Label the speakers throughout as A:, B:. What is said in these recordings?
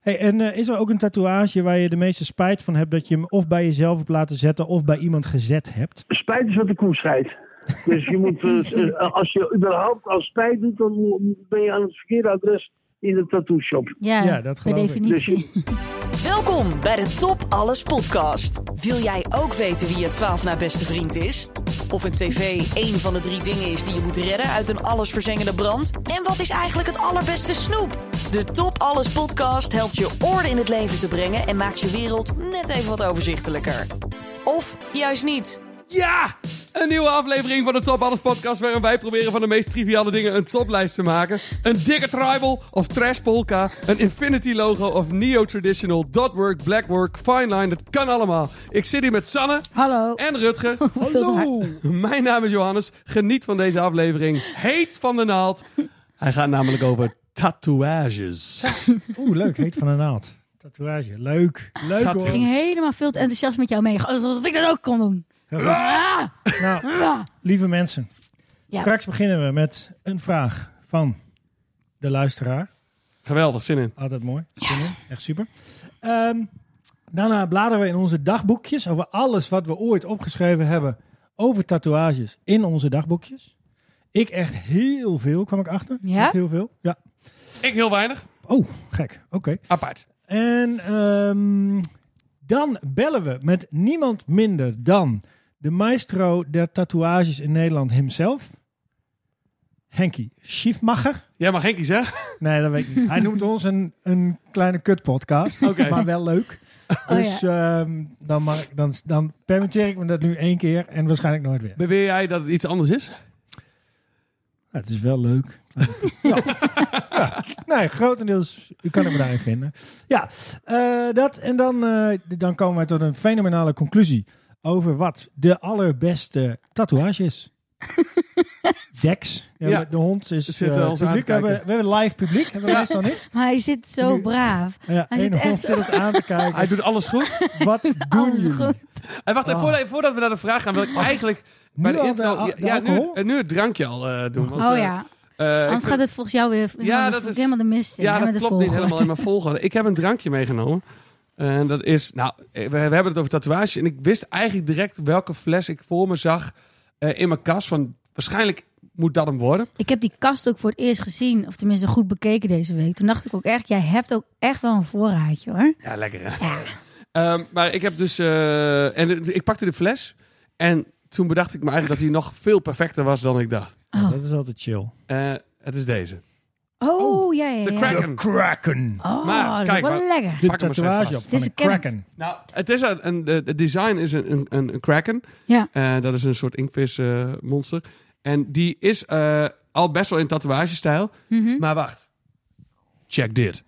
A: Hey, en eh, is er ook een tatoeage waar je de meeste spijt van hebt dat je hem of bij jezelf hebt laten zetten of bij iemand gezet hebt?
B: Spijt is wat de koe scheidt. Dus je moet, eh, eh, als je überhaupt al spijt doet, dan mo- ben je aan het verkeerde adres in de tattoo shop.
C: Ja,
A: Ja, dat
C: per
A: geloof ik.
D: Dus
C: definitie.
E: Welkom bij de Top Alles podcast. Wil jij ook weten wie je 12 na beste vriend is? Of een tv één van de drie dingen is die je moet redden uit een allesverzengende brand? En wat is eigenlijk het allerbeste snoep? De Top Alles podcast helpt je orde in het leven te brengen en maakt je wereld net even wat overzichtelijker. Of juist niet.
D: Ja! Een nieuwe aflevering van de Top Alles podcast waarin wij proberen van de meest triviale dingen een toplijst te maken. Een dikke tribal of trash polka, een infinity logo of neo traditional, dot work, black work, fine line, dat kan allemaal. Ik zit hier met Sanne
C: Hallo.
D: en Rutger.
C: Veel te hard.
D: Mijn naam is Johannes. Geniet van deze aflevering. Heet van de naald. Hij gaat namelijk over tatoeages.
A: Oeh, leuk. Heet van een naald. Tatoeage. Leuk. Leuk
D: Tattoo.
A: hoor.
C: Ik ging helemaal veel te enthousiast met jou mee. Oh, Dat ik dat ook kon doen.
A: Heel goed. Nou, lieve mensen.
C: Ja.
A: Straks beginnen we met een vraag van de luisteraar.
D: Geweldig, zin in.
A: Altijd mooi. Zin in. Echt super. Ehm, daarna bladeren we in onze dagboekjes over alles wat we ooit opgeschreven hebben over tatoeages in onze dagboekjes. Ik echt heel veel, kwam ik achter.
C: Ja?
A: Echt heel veel. Ja.
D: Ik heel weinig.
A: Oh, gek. Oké.
D: Apart.
A: En ehm, dan bellen we met niemand minder dan de maestro der tatoeages in Nederland himself. Henkie Schiefmacher.
D: Jij mag Henkie zeggen.
A: Nee, dat weet ik niet. Hij noemt ons een, een kleine kutpodcast,
D: Oké.
A: maar wel leuk.
C: Oh,
A: Dus ehm, dan, mag, ik- dan, dan permitteer ik me dat nu één keer en waarschijnlijk nooit weer.
D: Beweer jij dat het iets anders is?
A: Ja, Nou, het is wel leuk. Ja. Ja. Nee, grotendeels kan ik me daarin vinden. Ja, eh, dat en dan, eh, dan komen we tot een fenomenale conclusie over wat de allerbeste tatoeage is. Dex, ja,
D: Ja.
A: de hond is
D: Ze zitten
A: eh,
D: ons aan te
A: publiek. We hebben,
D: kijken.
A: we hebben live publiek, hebben we
D: Ja.
A: meestal niet.
C: Maar hij zit zo
A: Nu-
C: braaf.
A: Ja,
C: Hij
A: één
C: zit
A: hond
C: echt-
A: zit ons aan te kijken.
D: Hij doet alles goed.
A: Wat doen
C: alles
A: jullie?
C: goed.
D: Hey, wacht even,
A: Ah.
D: voordat, voordat we naar de vraag gaan, wil ik eigenlijk bij
A: Oh. Nu
D: de
A: al Ah,
D: intro...
A: de- de
D: ja, nu,
A: alcohol?
D: eh, nu het drankje al eh, doen. want,
C: Oh
D: eh,
C: ja,
D: eh, ik
C: anders
D: vind-
C: gaat het volgens jou weer
D: Ja,
C: ja,
D: dat
C: dat is,
D: is-
C: helemaal de mist in.
D: Ja,
C: Hè,
D: dat
C: met de
D: klopt niet
C: volgorde.
D: helemaal in mijn volgorde. Ik heb een drankje meegenomen. En dat is... Nou, eh, we, we hebben het over tatoeages. En ik wist eigenlijk direct welke fles ik voor me zag eh, in mijn kast. Van, waarschijnlijk moet dat hem worden.
C: Ik heb die kast ook voor het eerst gezien, of tenminste goed bekeken deze week. Toen dacht ik ook echt, jij hebt ook echt wel een voorraadje hoor.
D: Ja, lekker hè? Ehm, maar ik heb dus... eh, en eh, ik pakte de fles. En toen bedacht ik me eigenlijk dat hij nog veel perfecter was dan ik dacht.
C: Oh,
A: Dat is altijd chill.
D: Eh, het is deze.
C: oh, ja, ja,
D: De
C: ja.
D: crack.
A: De kraken.
C: Oh,
D: Maar,
C: dat
D: kijk,
C: is wel
D: maar-
C: lekker.
A: De
D: Pak hem eens even
A: tatoeage
D: vast.
A: op van
C: is
A: een
C: een kenmerk.
A: kraken.
D: Nou, het is een, een, de- het design is een, een, een, een kraken.
C: Ja.
D: Eh, dat is een soort inktvis eh, monster. En die is eh, al best wel in tatoeagestijl.
C: Mhm.
D: Maar wacht. Check dit.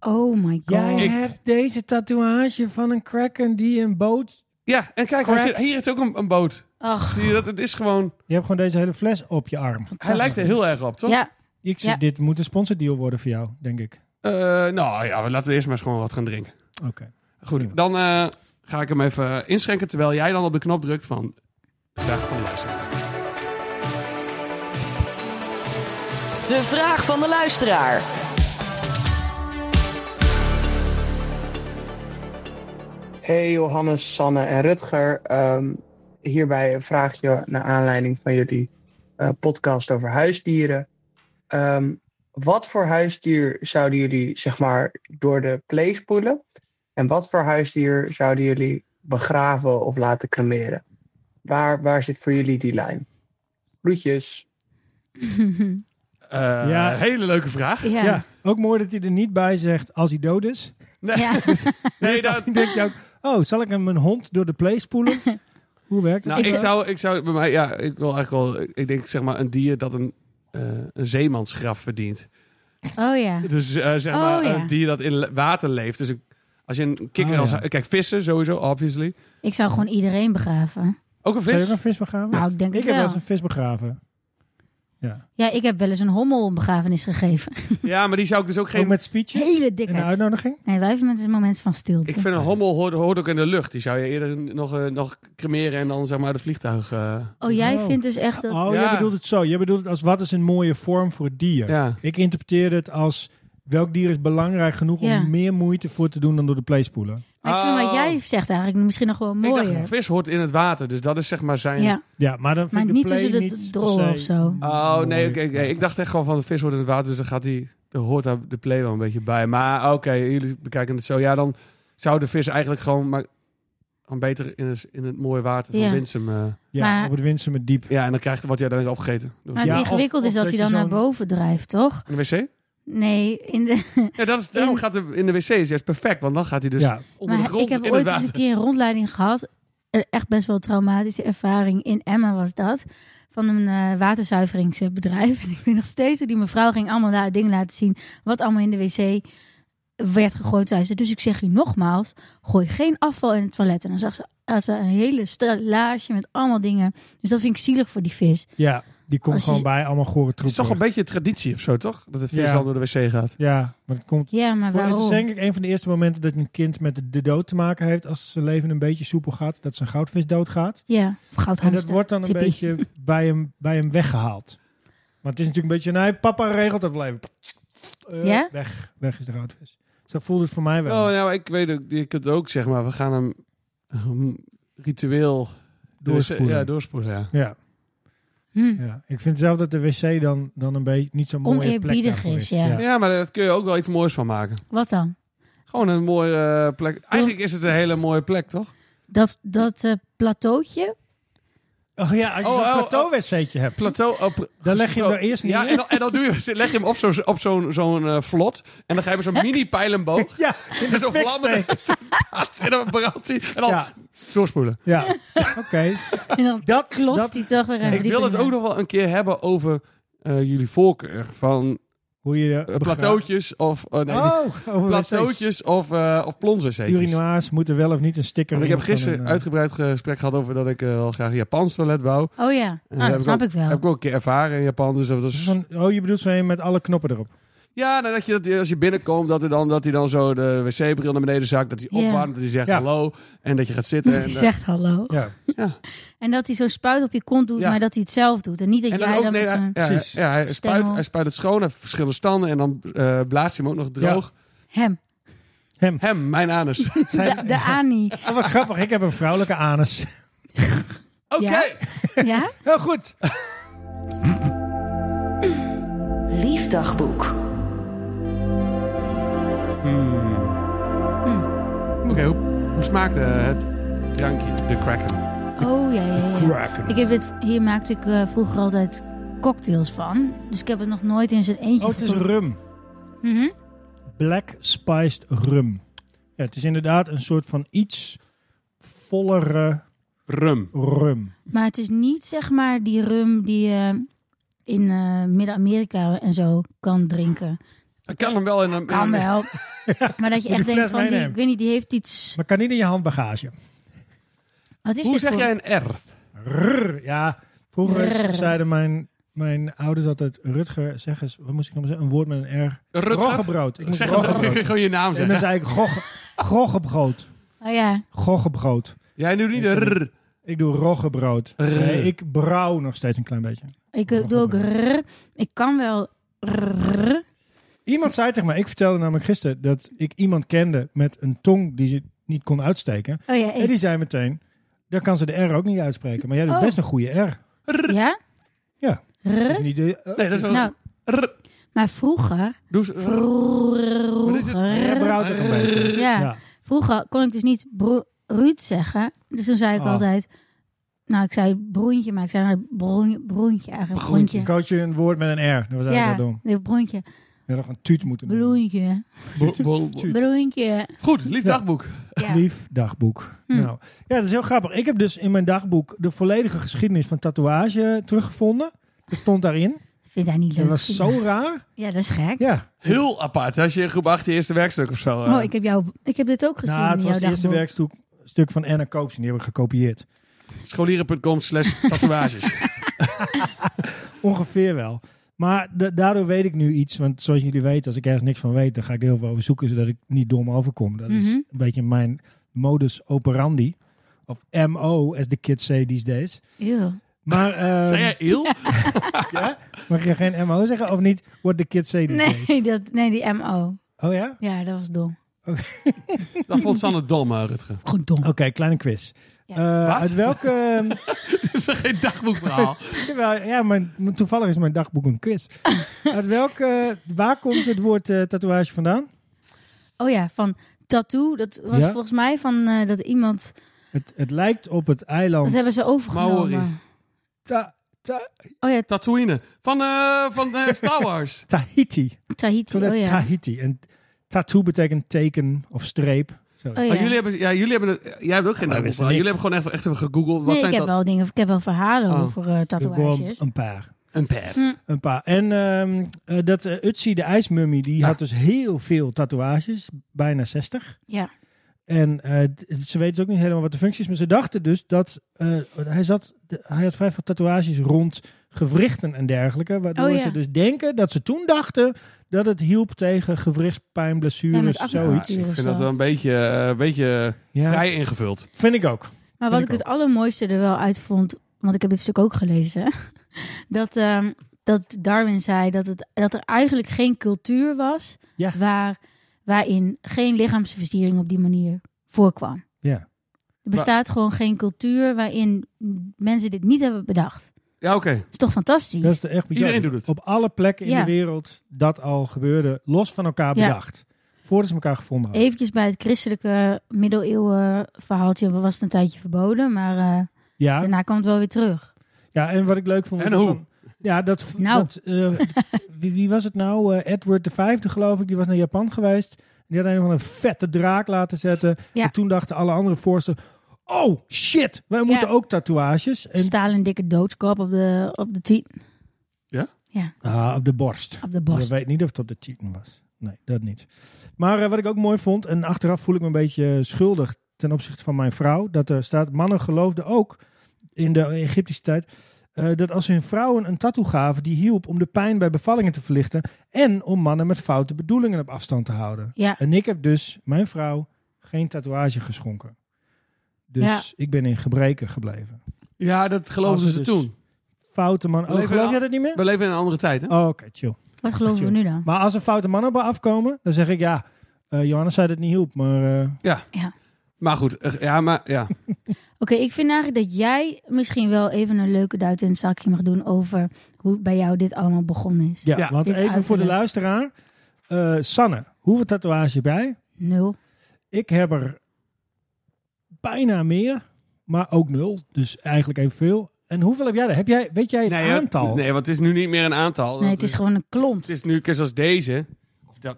C: Oh my god.
A: Jij
D: Ik-
A: hebt deze tatoeage van een kraken die een boot...
D: Ja, en kijk, hij zit,
A: Correct.
D: hier heeft ook een, een boot.
C: Ach,
D: Zie je dat? Het is gewoon...
A: Je hebt gewoon deze hele fles op je arm.
D: Hij lijkt er heel erg op, toch?
C: ja,
A: Ik zie,
C: Ja.
A: Dit moet een sponsordeal worden voor jou, denk ik.
D: Eh, nou ja, laten we eerst maar eens gewoon wat gaan drinken.
A: Oké. Prima.
D: Goed, dan eh, ga ik hem even inschenken... terwijl jij dan op de knop drukt van... Vraag van de luisteraar.
E: De vraag van de luisteraar.
F: Hey Johannes, Sanne en Rutger. Ehm, hierbij een vraagje naar aanleiding van jullie eh, podcast over huisdieren. Ehm, wat voor huisdier zouden jullie zeg maar door de play spoelen? En wat voor huisdier zouden jullie begraven of laten cremeren? Waar, waar zit voor jullie die lijn? Groetjes.
D: Eh,
A: Ja.
D: Hele leuke vraag.
C: ja.
A: Ja. ook mooi dat hij er niet bij zegt als hij dood is. Dus
D: Nee,
C: Ja.
D: nee
A: Dan
D: dat,
A: denk je ook, oh, zal ik hem mijn hond door de play spoelen? Hoe werkt het?
D: Nou,
C: Ik
D: ik,
C: zou-
D: zou, ik zou bij mij, ja, ik wil eigenlijk wel, ik denk zeg maar een dier dat een, eh, een zeemansgraf verdient.
C: Oh ja.
D: Dus eh, zeg
C: Oh,
D: maar
C: ja.
D: een dier dat in le- water leeft. Dus een- als je een kikker,
A: Oh,
D: als,
A: ja.
D: kijk vissen sowieso, obviously.
C: Ik zou gewoon iedereen begraven.
D: Ook een
A: Zou je
D: vis.
A: ook een vis begraven?
C: Nou, ik denk het
A: heb wel
C: wel.
A: eens een vis begraven. Ja.
C: Ja, ik heb wel eens een hommel een begrafenis gegeven.
D: Ja, maar die zou ik dus ook
A: Ook
D: geen.
A: met speeches?
C: Hele
A: en een
C: dikke.
A: uitnodiging?
C: Nee, wij hebben een moment van stilte.
D: Ik vind een hommel hoort, hoort ook in de lucht. Die zou je eerder nog, eh, nog cremeren en dan zeg maar de vliegtuig. eh,
C: Oh, jij
A: Oh.
C: vindt dus echt dat...
A: Oh,
D: Ja.
A: jij bedoelt het zo. Jij bedoelt het als wat is een mooie vorm voor het dier.
D: ja.
A: Ik interpreteerde het als Welk dier is belangrijk genoeg
C: Ja.
A: om meer moeite voor te doen dan door de playspoelen?
C: Maar ik vind wat
D: Oh.
C: jij zegt eigenlijk misschien nog wel
D: Ik dacht,
C: mooier.
D: een vis hoort in het water, dus dat is zeg maar zijn...
C: ja,
A: Ja, maar dan
C: maar
A: vind ik
C: niet
A: de play
C: tussen de
A: niet
C: d-
A: per
C: drollen
A: se
C: of zo.
D: Oh, nee,
A: mooi.
D: oké, oké. ik dacht echt gewoon van de vis hoort in het water, dus dan gaat die, dan hoort daar de play wel een beetje bij. Maar oké, jullie bekijken het zo. Ja, dan zou de vis eigenlijk gewoon maar gewoon beter in het, in het mooie water van
C: Ja.
D: Winsum. eh,
A: Ja,
C: Maar-
A: op het Winsum met diep.
D: ja, en dan krijgt wat jij dan is opgegeten. Door
C: Maar
A: Ja,
C: het
A: of-
C: ingewikkeld
A: of
C: is dat,
A: dat
C: hij
A: je
C: dan naar
A: zo'n-
C: boven drijft, toch?
D: in de wc?
C: Nee, in de,
D: Ja, dat is, daarom gaat de, in de wc is juist perfect, want dan gaat hij dus
A: ja,
D: onder de
C: maar
D: grond
C: ik heb
D: in het
C: ooit eens
D: water.
C: een keer een rondleiding gehad. Eh, Echt best wel een traumatische ervaring. In Emma was dat. Van een eh, waterzuiveringsbedrijf. En ik weet nog steeds hoe die mevrouw ging allemaal la- dingen laten zien. Wat allemaal in de wc werd gegooid, zei ze. Dus ik zeg u nogmaals, gooi geen afval in het toilet. En dan zag ze, had ze een hele stellage met allemaal dingen. Dus dat vind ik zielig voor die vis.
A: ja, die komt
C: Als je-
A: gewoon bij allemaal gore
D: Het is toch een
A: troepen.
D: beetje traditie of zo, toch? Dat de vis
A: Ja.
D: dan door de wc gaat.
A: Ja, maar het komt...
C: Ja, maar
A: Het is
C: waarom?
A: denk ik een van de eerste momenten dat een kind met de- de dood te maken heeft. Als zijn leven een beetje soepel gaat, dat zijn goudvis doodgaat.
C: Ja, of goudhamster.
A: En dat wordt dan een
C: Tippie.
A: beetje bij hem, bij hem weggehaald. Maar het is natuurlijk een beetje, nou, nee, papa regelt dat wel even. Eh,
C: Ja?
A: Weg, weg is de goudvis. Zo voelde het voor mij wel.
D: Oh, nou, ik weet ook, je kunt ook zeg maar, we gaan hem ehm, ritueel de wc
A: Doorspoelen.
D: Ja, doorspoelen, ja.
A: ja,
C: Hm.
A: ja, ik vind zelf dat de wc dan, dan een beetje niet zo'n mooie plek
C: Oneerbiedig
A: daarvoor
C: is,
A: is.
C: ja.
D: Ja, maar daar kun je ook wel iets moois van maken.
C: Wat dan?
D: Gewoon een mooie eh, plek. Eigenlijk is het een hele mooie plek, toch?
C: Dat, dat eh, plateautje?
A: Oh ja, als je
D: Oh,
A: zo'n
D: oh,
A: plateau-wc hebt.
D: Plateau op.
A: Dan leg je hem er eerst niet
D: Ja,
A: in.
D: en dan, en dan doe je, leg je hem op zo'n op zo'n zo'n eh, vlot. En dan ga je met zo'n mini-pijlenboog.
A: ja,
D: En zo'n
A: fik
D: vlammende. En dan brandt hij. En dan
A: ja,
D: doorspoelen.
A: ja. oké.
C: En dan
A: Dat,
C: klotst
A: dat,
C: die toch weer even
D: Ik
C: diep
D: wil
C: in
D: het
C: de-
D: ook nog wel een keer hebben over eh, jullie voorkeur. Van
A: hoe je...
D: eh,
A: begra-
D: plateautjes of... eh, nee,
A: Oh, over wc's.
D: plateautjes of, eh of plonzerzetjes.
A: Urinoirs moeten wel of niet een sticker
D: Want ik heb
A: in van
D: gisteren
A: een, eh,
D: uitgebreid gesprek gehad over dat ik eh, wel graag een Japans toilet wou.
C: Oh ja,
D: En
C: Ah,
D: heb
C: dat snap
D: ook-
C: ik wel.
D: Heb ik ook een keer ervaren in Japan. Dus dat was
A: Zo'n, oh, je bedoelt zo een met alle knoppen erop.
D: Ja, nou, dat je dat, als je binnenkomt, dat hij dan, dat hij dan zo de wc-bril naar beneden zakt. Dat hij
C: Ja.
D: opwarmt, dat hij zegt
A: Ja.
D: hallo. En dat je gaat zitten.
C: Dat
D: en,
C: hij
D: eh,
C: zegt hallo.
A: Ja,
C: En dat hij zo'n spuit op je kont doet,
D: Ja.
C: maar dat hij het zelf doet. En niet dat
D: en dan
C: jij
D: ook-
C: dan
D: nee,
C: met
D: hij-
C: zo'n
D: ja, hij-
A: Precies.
D: ja, hij, spuit,
C: stengel-
D: hij spuit het schoon, hij heeft verschillende standen. En dan eh, blaast hij hem ook nog droog.
C: hem,
D: Hem, mijn anus.
A: Zijn-
C: de, de Ani.
A: Oh, wat grappig, ik heb een vrouwelijke anus.
D: Oké.
C: Ja? Ja?
A: Heel goed.
E: Liefdagboek.
C: Hm.
D: Oké, hoe, hoe smaakte het drankje, de cracker?
C: Oh ja, ja, ja.
A: Kraken.
C: Ik heb dit, hier maakte ik eh, vroeger altijd cocktails van. Dus ik heb het nog nooit in zijn eentje
A: Oh, het is
C: gedronken.
A: rum.
C: Mhm.
A: Black spiced rum. Ja, het is inderdaad een soort van iets vollere
D: Rum.
A: rum.
C: Maar het is niet zeg maar die rum die je in eh, Midden-Amerika en zo kan drinken.
D: Ik kan hem wel in een...
C: Kan
D: in een-
C: wel. Maar dat
A: Moet
C: je echt
A: die
C: denkt
A: fles
C: van, die,
A: meenemen?
C: ik weet niet, die heeft iets...
A: Maar kan niet in je handbagage.
C: Wat is
D: Hoe
C: dit
D: zeg
C: voor...
D: jij een R?
A: Rrr, ja, vroeger
C: Rrr.
A: zeiden mijn, mijn ouders altijd... Rutger, zeg eens, wat moest ik nou zeggen? Een woord met een R.
D: Rutger?
A: Roggebrood. Ik moest
D: Zeg eens-
A: roggebrood.
D: gewoon je naam
A: En dan
D: zeggen.
A: zei ik gog, goggebrood.
C: Oh ja,
A: Goggebrood.
D: Jij doet niet een R.
A: Ik doe roggebrood.
D: Rrr.
A: Nee, ik brouw nog steeds een klein beetje.
C: ik eh, doe ook... rrr. Ik kan wel... rrr.
A: Iemand zei tegen mij, ik vertelde namelijk gisteren dat ik iemand kende met een tong die ze niet kon uitsteken.
C: Oh ja,
A: En
C: ik-
A: die zei meteen, dan kan ze de R ook niet uitspreken. Maar jij doet
C: Oh.
A: best een goede R.
C: Ja?
A: Ja.
C: Rrr.
A: Dus niet de eh,
D: Nee, dat is wel...
C: Nou,
D: R.
C: maar vroeger...
D: Doe eens- Wat is het?
A: R
C: Vroeger...
A: brouwt toch een beetje.
C: Ja.
A: Ja.
C: Vroeger kon ik dus niet bro- Ruud zeggen. Dus toen zei ik
A: Oh.
C: altijd... Nou, ik zei broentje, maar ik zei nou broentje, broentje eigenlijk. Broentje.
A: Dan Coach je een woord met een R. Dat was eigenlijk
C: Ja,
A: wel dom.
C: nee, broentje.
A: Je had nog een tuut moeten doen.
C: Bloentje.
D: Bo- bo- bo-
A: Tuut.
C: Broentje.
D: Goed, lief dagboek.
C: Ja. Hm.
A: Lief dagboek. Nou, ja, dat is heel grappig. Ik heb dus in mijn dagboek de volledige geschiedenis van tatoeage teruggevonden. Dat stond daarin.
C: Vindt hij niet leuk.
A: Dat was zo raar.
C: Ja, dat is gek.
A: Ja.
D: Heel apart. Als je in groep 8 je eerste werkstuk of zo. eh.
C: Oh, ik heb, jou, ik heb dit ook gezien
A: Nou, het
C: in
A: was
C: jouw
A: het eerste
C: dagboek.
A: werkstuk stuk van Anna Koops. En die heb ik gekopieerd.
D: Scholieren.com slash tatoeages.
A: Ongeveer wel. Maar da- daardoor weet ik nu iets. Want zoals jullie weten, als ik ergens niks van weet, dan ga ik er heel veel over zoeken, zodat ik niet dom overkom. Dat is
C: Mhm.
A: een beetje mijn modus operandi. Of MO, as the kids say these days.
C: Eeuw.
A: Maar, eh,
D: Zijn jij ill?
A: ja? Mag je geen MO zeggen of niet? What the kids say these
C: Nee,
A: days.
C: dat, nee, die MO.
A: Oh ja?
C: Ja, dat was dom.
D: Dat vond Sanne dom, eh, Rutger.
C: Gewoon dom.
A: Oké, kleine quiz.
C: Ja.
A: Eh,
D: Wat?
A: uit welke...
D: Dit is geen dagboekverhaal.
A: Jawel, ja, mijn, mijn- toevallig is mijn dagboek een quiz. Uit welke, waar komt het woord eh, tatoeage vandaan?
C: Oh ja, van tattoo. Dat was
A: Ja?
C: volgens mij van eh, dat iemand...
A: Het, het lijkt op het
C: Dat
A: eiland.
C: hebben ze overgenomen.
D: Maori.
A: Ta- ta-
C: Oh ja,
D: Tatooine. Van, eh, van eh, Star Wars.
A: Tahiti.
C: Tahiti.
A: Zo dat
C: Oh ja.
A: Tahiti. En tattoo betekent teken of streep. Sorry.
C: Oh ja.
D: Maar jullie hebben, ja, jullie hebben, het- jij hebt ook geen
A: wij
D: dagboekverhaal.
A: wisten
D: Jullie
A: niks.
D: hebben gewoon even, echt even gegoogeld. Wat
C: Nee, ik
D: zijn
C: heb
D: dat?
C: wel dingen, ik heb wel verhalen
D: Oh.
C: over eh,
A: Gewoon
C: tatoeages.
A: een paar.
D: Een pad.
A: Een paar. En ehm, eh, dat eh, Utsi, de ijsmummy, die
D: Ja.
A: had dus heel veel tatoeages. Bijna 60.
C: Ja.
A: En eh, d- ze weten dus ook niet helemaal wat de functie is. Maar ze dachten dus dat eh, hij, zat, de- hij had vrij veel tatoeages rond gewrichten en dergelijke. Waardoor
C: Oh, ja.
A: ze dus denken dat ze toen dachten dat het hielp tegen gewrichtspijn,
C: Ja,
A: blessures,
C: met acne-
D: Ja,
A: zoiets.
C: Zoiets.
D: ik vind dat wel een beetje, eh, een beetje
A: Ja,
D: vrij ingevuld.
A: vind ik ook.
C: Maar wat ik
A: Vind ik
C: het allermooiste er wel uit vond, want ik heb dit stuk ook gelezen, dat, ehm, dat Darwin zei dat, het, dat er eigenlijk geen cultuur was
A: Ja.
C: waar, waarin geen lichaamsversiering op die manier voorkwam.
A: Ja.
C: Er bestaat gewoon geen cultuur waarin mensen dit niet hebben bedacht.
D: Ja, oké.
C: Dat is toch fantastisch?
A: Dat is echt bizar.
D: Iedereen doet het.
A: Op alle plekken in
C: Ja.
A: de wereld dat al gebeurde, los van elkaar
C: Ja.
A: bedacht. Voordat ze elkaar gevonden hadden.
C: Eventjes bij het christelijke middeleeuwen verhaaltje was het een tijdje verboden, maar eh,
A: Ja,
C: daarna kwam het wel weer terug.
A: ja, en wat ik leuk vond... was
D: En
A: dat
D: hoe?
A: dan- ja, dat...
C: Nou.
A: dat eh, wie, wie was het nou? Eh, Edward V, geloof ik. Die was naar Japan geweest. En die had een van een vette draak laten zetten.
C: Ja.
A: En toen dachten alle andere voorsten... Oh, shit! Wij moeten ook tatoeages. En,
C: Stalen een dikke doodskop op de, op de, tien-
A: ah, op de borst.
C: op
A: Dus
C: de borst.
A: ik weet niet of het op de cheaten was. Nee, dat niet. Maar eh, wat ik ook mooi vond, en achteraf voel ik me een beetje eh, schuldig ten opzichte van mijn vrouw, dat er staat, mannen geloofden ook in de Egyptische tijd, eh, dat als hun vrouwen een tattoo gaven, die hielp om de pijn bij bevallingen te verlichten en om mannen met foute bedoelingen op afstand te houden.
C: Ja.
A: En ik heb dus mijn vrouw geen tatoeage geschonken. Dus
C: Ja.
A: ik ben in gebreken gebleven.
D: Ja, dat geloofden
A: Als
D: ze
A: het dus-
D: toen.
A: Foute man. Oh,
D: Leven-
A: geloof jij dat niet meer?
D: We leven in een andere tijd, hè?
A: Oh, Oké, chill.
C: Wat geloven we nu dan?
A: Maar als er foute mannen op me afkomen, dan zeg ik ja. eh Johannes zei dat het niet hielp, maar eh,
D: Maar goed, eh, ja, maar ja.
C: Oké, ik vind eigenlijk dat jij misschien wel even een leuke duit in het zakje mag doen over hoe bij jou dit allemaal begonnen is.
A: ja,
D: Ja.
A: want
C: Dit
A: even voor de
C: uiterlijk.
A: luisteraar. eh, Sanne, hoeveel tatoeage heb jij?
C: Nul.
A: Ik heb er bijna meer, maar ook nul. Dus eigenlijk evenveel. En hoeveel heb jij er? Heb jij, weet jij het
D: Nee, hè?
A: aantal?
D: Nee, want het is nu niet meer een aantal.
C: Nee,
D: Dat
C: het is gewoon een klont.
D: het is nu een keer zoals deze. Of dat,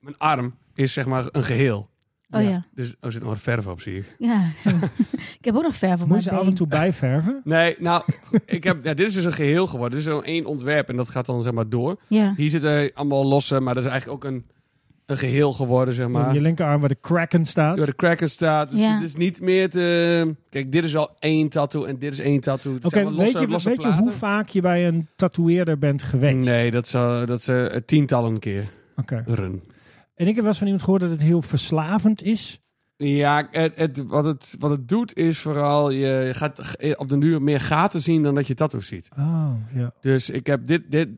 D: mijn arm is zeg maar een geheel.
C: Oh ja.
D: Dus er zit nog wat verf op, zie ik.
C: Ja. ik heb ook nog verf op
A: Moet
C: mijn
A: je ze
C: been.
A: af en toe bijverven?
D: Nee, nou, ik heb, ja, dit is dus een geheel geworden. Dit is zo'n één ontwerp en dat gaat dan zeg maar door.
C: Ja.
D: Hier zitten allemaal losse, maar dat is eigenlijk ook een, een geheel geworden, zeg
A: Om
D: maar.
A: je linkerarm waar de kraken staat.
D: Door de cracker staat. Dus
C: Ja.
D: het is niet meer te... Kijk, dit is al één tattoo en dit is één tattoo. Het
A: Oké,
D: zijn allemaal
A: weet, je,
D: losse,
A: weet je
D: losse
A: hoe
D: platen.
A: vaak je bij een tatoeëerder bent geweest?
D: Nee, dat is, eh, dat is eh, tientallen keer
A: Oké.
D: run.
A: En ik heb wel eens van iemand gehoord dat het heel verslavend is.
D: Ja, het, het, wat, het, wat het doet is vooral, je gaat op de duur meer gaten zien dan dat je tattoos ziet.
A: Oh, ja.
D: Dus ik heb dit, dit,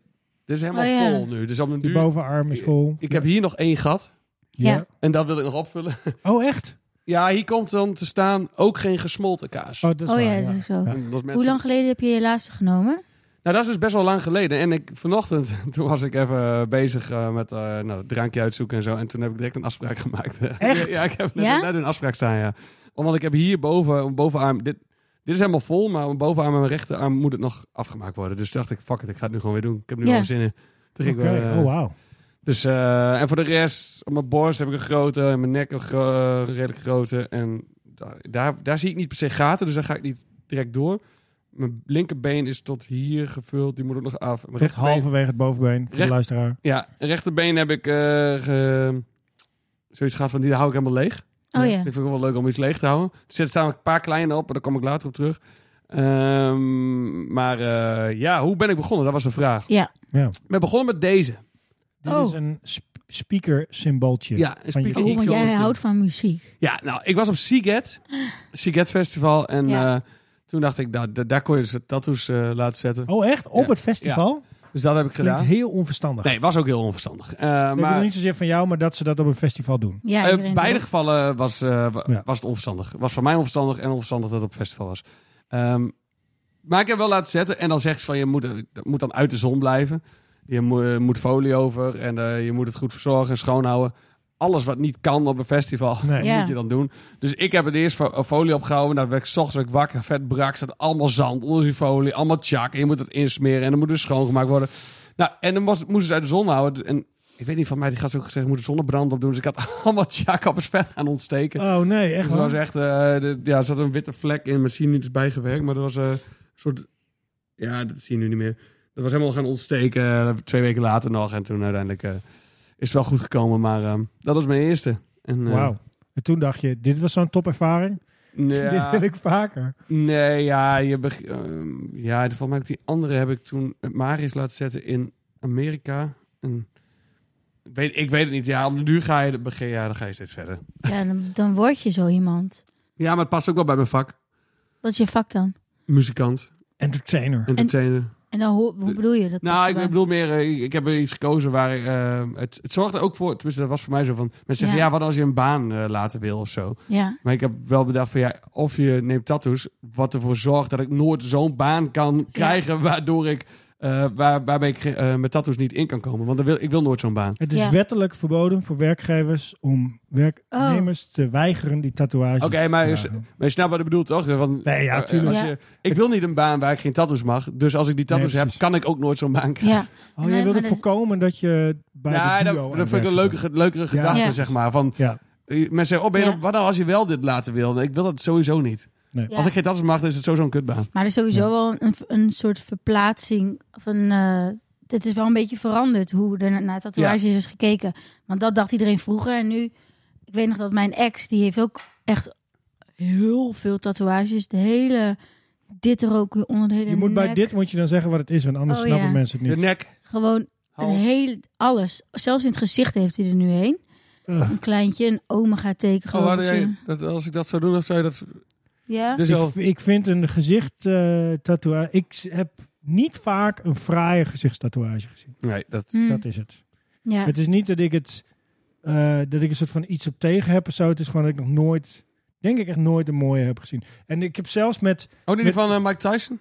D: dit is helemaal
C: Oh, ja.
D: vol nu. Dus op de
A: Je
D: duur,
A: bovenarm is vol.
D: ik heb hier nog één gat
C: Ja.
D: en dat wil ik nog opvullen.
A: Oh, echt?
D: Ja, hier komt dan te staan ook geen gesmolten kaas.
A: Oh, dat is
C: Oh
A: waar,
C: ja,
A: ja.
C: dat is zo.
A: Ja.
D: En dat is mensen-
C: Hoe lang geleden heb je je laatste genomen? Oh
D: Nou, dat is dus best wel lang geleden. En ik, vanochtend, toen was ik even eh, bezig eh, met eh, nou, het drankje uitzoeken en zo. En toen heb ik direct een afspraak gemaakt.
A: Echt?
D: ja, ik heb net,
C: Ja?
D: net een afspraak staan, ja. Want ik heb hier boven, mijn bovenarm... Dit, dit is helemaal vol, maar mijn bovenarm en mijn rechterarm moet het nog afgemaakt worden. Dus dacht ik, fuck it, ik ga het nu gewoon weer doen. Ik heb nu
C: Ja.
D: wel zin in. Toen ging ik,
A: Oké,
D: eh,
A: oh wauw.
D: Dus, eh, en voor de rest, op mijn borst heb ik een grote, en mijn nek een gro- eh, redelijk grote. En daar, daar, daar zie ik niet per se gaten, dus daar ga ik niet direct door. Mijn linkerbeen is tot hier gevuld, die moet ook nog af. Mijn
A: Tot
D: rechterbeen,
A: halverwege het bovenbeen voor
D: Recht-
A: de luisteraar.
D: ja, rechterbeen heb ik eh, ge- zoiets gehad van, die hou ik helemaal leeg.
C: Oh ja.
D: Ik vind het wel leuk om iets leeg te houden. Er zitten staan een paar kleine op, maar daar kom ik later op terug. Ehm, maar eh, ja, hoe ben ik begonnen? Dat was de vraag.
C: Ja.
A: Ja.
D: Ik ben begonnen met deze.
A: Dit
C: Oh.
A: is een sp- speaker symbooltje.
D: Ja, een
A: Van je-
D: speaker
C: Oh, want
D: icon.
C: jij houdt van muziek.
D: Ja, nou, ik was op Seagat. Seagat Festival. En
C: Ja.
D: eh, Toen dacht ik, nou, d- daar kon je dus tattoos eh, laten zetten.
A: Oh, echt? Op
D: Ja.
A: het festival?
D: Dus dat heb ik
A: Klinkt
D: gedaan.
A: heel onverstandig.
D: Nee, was ook heel onverstandig. Eh,
A: Ik bedoel
D: maar
A: niet zozeer van jou, maar dat ze dat op een festival doen.
C: Ja,
D: in
C: iedereen
D: Eh, beide
C: doet.
D: gevallen was, eh, wa-
A: Ja.
D: was het onverstandig. Was voor mij onverstandig en onverstandig dat het op festival was. Ehm, maar ik heb wel laten zetten. En dan zegt ze van, je moet, eh, moet dan uit de zon blijven. Je mo- eh, moet folie over en eh, je moet het goed verzorgen en schoonhouden. Alles wat niet kan op een festival,
A: Nee.
C: Ja.
D: moet je dan doen. Dus ik heb het eerst fo- folie opgehouden. Nou, werd ik 's ochtends werd ik wakker, vet brak. Zat allemaal zand onder die folie, allemaal tjak. En je moet het insmeren en dan moet het schoongemaakt worden. Nou, en dan moest- moesten ze uit de zon houden. En ik weet niet van mij, die gast ook gezegd, moet er zonnebrand op doen. Dus ik had allemaal tjak op het vet gaan ontsteken.
A: Oh nee, echt
D: Dus het was
A: waar?
D: echt, eh, de- ja, er zat een witte vlek in, maar zie je niet is bijgewerkt. Maar dat was eh, een soort, ja, dat zie je nu niet meer. Dat was helemaal gaan ontsteken, eh, twee weken later nog. En toen uiteindelijk eh, is het wel goed gekomen, maar eh, dat was mijn eerste. En, eh,
A: Wauw. En toen dacht je, dit was zo'n topervaring.
D: ja.
A: Dit wil ik vaker.
D: Nee, ja, je beg- ehm, ja, volgens mij heb ik die andere heb ik toen met Marius laten zetten in Amerika. En ik, weet, ik weet het niet. Ja, op de duur ga je, begin, ja, dan ga je steeds verder.
C: Ja, dan, dan word je zo iemand.
D: Ja, maar het past ook wel bij mijn vak.
C: Wat is je vak dan?
D: Muzikant,
A: Entertainer.
D: entertainer.
C: En dan, hoe, hoe bedoel je dat?
D: Nou, ik
C: erbij?
D: bedoel meer, eh, ik- ik heb er iets gekozen waar eh, het, het zorgde ook voor, tenminste dat was voor mij zo van, mensen zeggen
C: Ja.
D: ja, wat als je een baan eh, laten wil of zo.
C: Ja,
D: Maar ik heb wel bedacht van ja, of je neemt tattoos, wat ervoor zorgt dat ik nooit zo'n baan kan krijgen waardoor ik, eh, waar, waarbij ik eh, mijn tattoos niet in kan komen. Want dan wil, ik wil nooit zo'n baan.
A: Het is
C: Ja.
A: wettelijk verboden voor werkgevers om
C: Oh.
A: werknemers te weigeren die tatoeages
D: Oké, maar
A: te
D: is-
A: dragen.
D: Maar je snapt wat ik bedoel toch? Want,
A: Nee, ja,
D: eh,
A: tuurlijk.
D: als je-
C: Ja.
D: Ik wil niet een baan waar ik geen tattoos mag. Dus als ik die tattoos
A: Nee,
D: heb,
A: precies.
D: kan ik ook nooit zo'n baan krijgen.
C: ja.
A: Oh, jij
C: Nee,
A: wilde
C: maar dat-
A: voorkomen dat je bij
D: Ja,
A: de
D: dat,
A: duo
D: dat vind ik een
A: aanwezig
D: leukere, leukere gedachte,
C: Ja.
D: zeg maar. Van,
A: bent. Ja,
D: eh, mensen zeggen, oh, ben je
C: Ja.
D: dan- wat nou als je wel dit laten wil? Ik wil dat sowieso niet.
C: Ja.
D: Als ik geen tattoos mag, dan is het sowieso een kutbaan.
C: Maar er is sowieso wel een, een soort verplaatsing. Of een, eh, het is wel een beetje veranderd hoe er naar tatoeages is gekeken. Want dat dacht iedereen vroeger. En nu, ik weet nog dat mijn ex, die heeft ook echt heel veel tatoeages. De hele, dit er ook onder de hele
A: je moet bij
C: nek.
A: dit moet je dan zeggen wat het is, want anders
C: Oh,
A: snappen
C: ja.
A: mensen het
D: De
A: niet.
D: nek,
C: Gewoon het
D: hals.
C: hele, alles. Zelfs in het gezicht heeft hij er nu heen.
A: Ugh.
C: Een kleintje, een omega teken.
D: Oh,
C: geloof
D: had
C: ik.
D: jij, dat, als ik dat zou doen, dan zou je dat...
C: Ja?
D: Dus al-
A: Ik, ik vind een gezicht eh, tatoeage. Ik s- heb niet vaak een fraaie gezichtstatoeage gezien.
D: Nee, dat...
C: Hm,
A: Dat is het.
C: ja.
A: Het is niet dat ik het eh, dat ik een soort van iets op tegen heb of zo. Het is gewoon dat ik nog nooit, denk ik echt nooit een mooie heb gezien. En ik heb zelfs met
D: Oh, niet
A: Met-
D: van eh, Mike Tyson?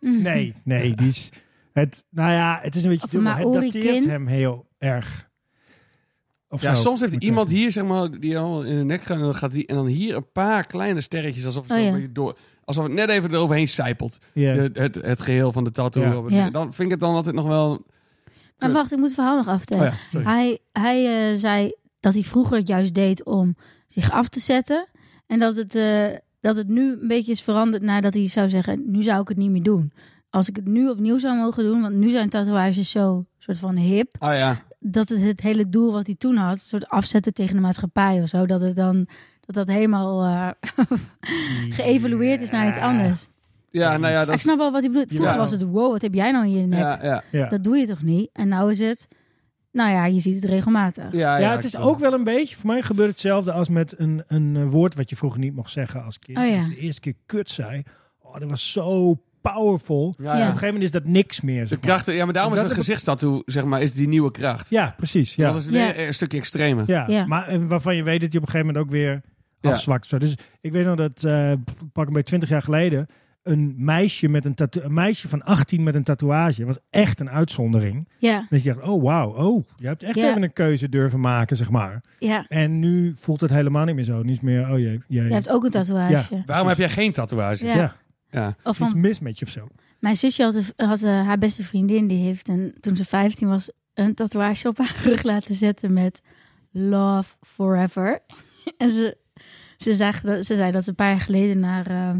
C: Mhm.
A: nee, nee, die is het. Nou ja, het is een beetje
C: Of
A: dubbel. Het
C: Maori
A: dateert
C: kin.
A: hem heel erg. Of
D: Ja,
A: zo.
D: soms heeft
A: Met
D: iemand
A: deze-
D: hier, zeg maar, die al in de nek gaat en dan, gaat die, en dan hier een paar kleine sterretjes, alsof het,
C: Oh,
D: zo
C: ja.
D: een beetje door, alsof het net even eroverheen sijpelt.
A: Ja.
D: De- het, het geheel van de tattoo.
A: Ja.
D: Op-
C: Ja.
D: Dan vind ik het dan altijd nog wel... Oh
C: Maar wacht, ik moet het verhaal nog aftellen.
A: Oh
D: ja, sorry.
C: Hij, hij eh, zei dat hij vroeger het juist deed om zich af te zetten. En dat het, eh, dat het nu een beetje is veranderd nadat hij zou zeggen: Nu zou ik het niet meer doen. Als ik het nu opnieuw zou mogen doen, want nu zijn tatoeages zo soort van hip.
D: Oh ja.
C: Dat het, het hele doel wat hij toen had, een soort afzetten tegen de maatschappij of zo, dat het dan dat dat helemaal eh, geëvalueerd is naar iets anders.
D: Ja, nou ja, dat
C: Ik
D: is...
C: snap wel wat hij bedoelt. Vroeger
D: Ja.
C: was het: Wow, wat heb jij nou in je nek?
D: Ja, ja.
A: Ja.
C: Dat doe je toch niet? En nou is het: Nou ja, je ziet het regelmatig.
D: Ja,
A: ja, het is
D: ik-
A: ook wel een beetje. Voor mij gebeurt hetzelfde als met een, een eh, woord wat je vroeger niet mocht zeggen als kind.
C: Oh, ja.
A: Als je de eerste keer kut zei. Oh, dat was zo powerful. Op
D: Ja,
C: Ja.
D: ja.
A: een gegeven moment is dat niks meer.
D: De
A: zeg maar.
D: krachten, ja, maar daarom is
A: Omdat
D: een
A: het-
D: gezichtstattoo, zeg maar, is die nieuwe kracht.
A: Ja, precies. Ja.
D: Dat is weer
C: Ja.
D: een stukje extremer.
A: Ja,
C: Ja.
A: maar eh, waarvan je weet dat je op een gegeven moment ook weer
D: Ja.
A: afzwakt. Zo. Dus ik weet nog dat, eh pak een beetje 20 jaar geleden, een meisje, met een, tattoo- een meisje van 18 met een tatoeage was echt een uitzondering.
C: Ja,
A: Dat je dacht, oh wauw, oh, je hebt echt
C: Ja.
A: even een keuze durven maken, zeg maar.
C: ja.
A: En nu voelt het helemaal niet meer zo. Niet meer, oh jee, jee.
C: Je hebt ook een tatoeage.
A: Ja.
D: Waarom heb jij geen tatoeage?
C: Ja.
A: ja,
C: Of
A: iets
C: van,
A: mis met je of zo.
C: mijn zusje had, een- had eh, haar beste vriendin, die heeft een, toen ze 15 was, een tatoeage op haar rug laten zetten met Love Forever. en ze, ze, zag, dat- ze zei dat ze een paar jaar geleden naar eh,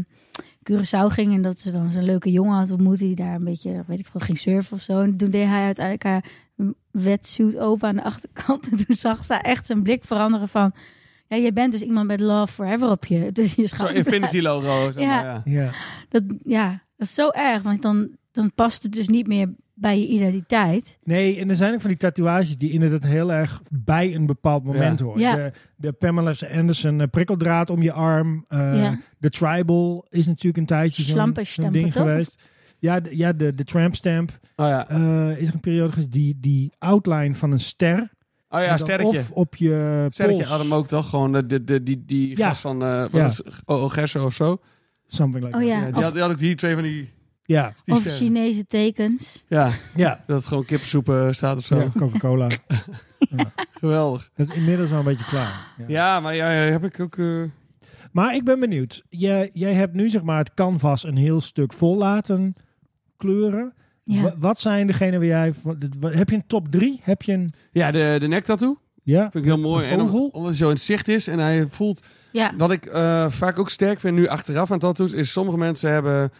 C: Curaçao ging en dat ze dan zo'n leuke jongen had ontmoet die daar een beetje, weet ik veel, ging surfen of zo. En toen deed hij uiteindelijk haar wetsuit open aan de achterkant. En toen zag ze echt zijn blik veranderen van, ja, je bent dus iemand met Love Forever op je, tussen je
D: Zo'n
C: schouder.
D: infinity logo. Zeg
C: Ja.
D: maar, ja. Oh
A: Ja.
C: Dat, ja, dat is zo erg, want dan, dan past het dus niet meer bij je identiteit.
A: Nee, en er zijn ook van die tatoeages die inderdaad heel erg bij een bepaald moment
D: Ja.
A: horen.
C: Ja.
A: De, de Pamela Anderson eh, prikkeldraad om je arm. eh,
C: Ja.
A: De tribal is natuurlijk een tijdje zo'n
C: Slampe
A: zo'n
C: stampen,
A: ding
C: toch?
A: geweest. Ja, de, ja, de, de tramp stamp
D: Oh ja,
A: eh, is er een periode geweest die, die outline van een ster.
D: oh,
A: en
D: ja
A: dan
D: sterretje.
A: Of op je
D: Sterretje
A: pols.
D: had hem ook toch gewoon, eh, de, de, die, die
A: Ja.
D: gast van, eh wat
A: Ja.
D: is het? O- Ogerso of zo.
A: Something like
C: Oh
A: that.
C: ja,
D: die,
C: of,
D: had, die had ook die twee van die,
A: Ja,
D: die
C: of
D: sterren.
C: Chinese tekens.
D: Ja,
A: ja.
D: dat het gewoon kipsoep eh, staat of zo.
A: Ja, Coca-Cola.
D: Geweldig.
A: Dat is inmiddels wel een beetje klaar. Ja.
D: Ja, maar ja, ja, heb ik ook... eh,
A: Maar ik ben benieuwd. Jij, jij hebt nu zeg maar het canvas een heel stuk vol laten kleuren.
C: Ja.
A: Wa- Wat zijn degene waar jij... van- dit- wa- Heb je een top drie? Heb je een...
D: Ja, de, de nektattoo.
A: Ja?
D: Vind ik heel mooi.
A: Een
D: En om-
A: vogel?
D: omdat hij zo in het zicht is en hij voelt...
C: ja.
D: Wat ik eh, vaak ook sterk vind nu achteraf aan tattoos... is sommige mensen hebben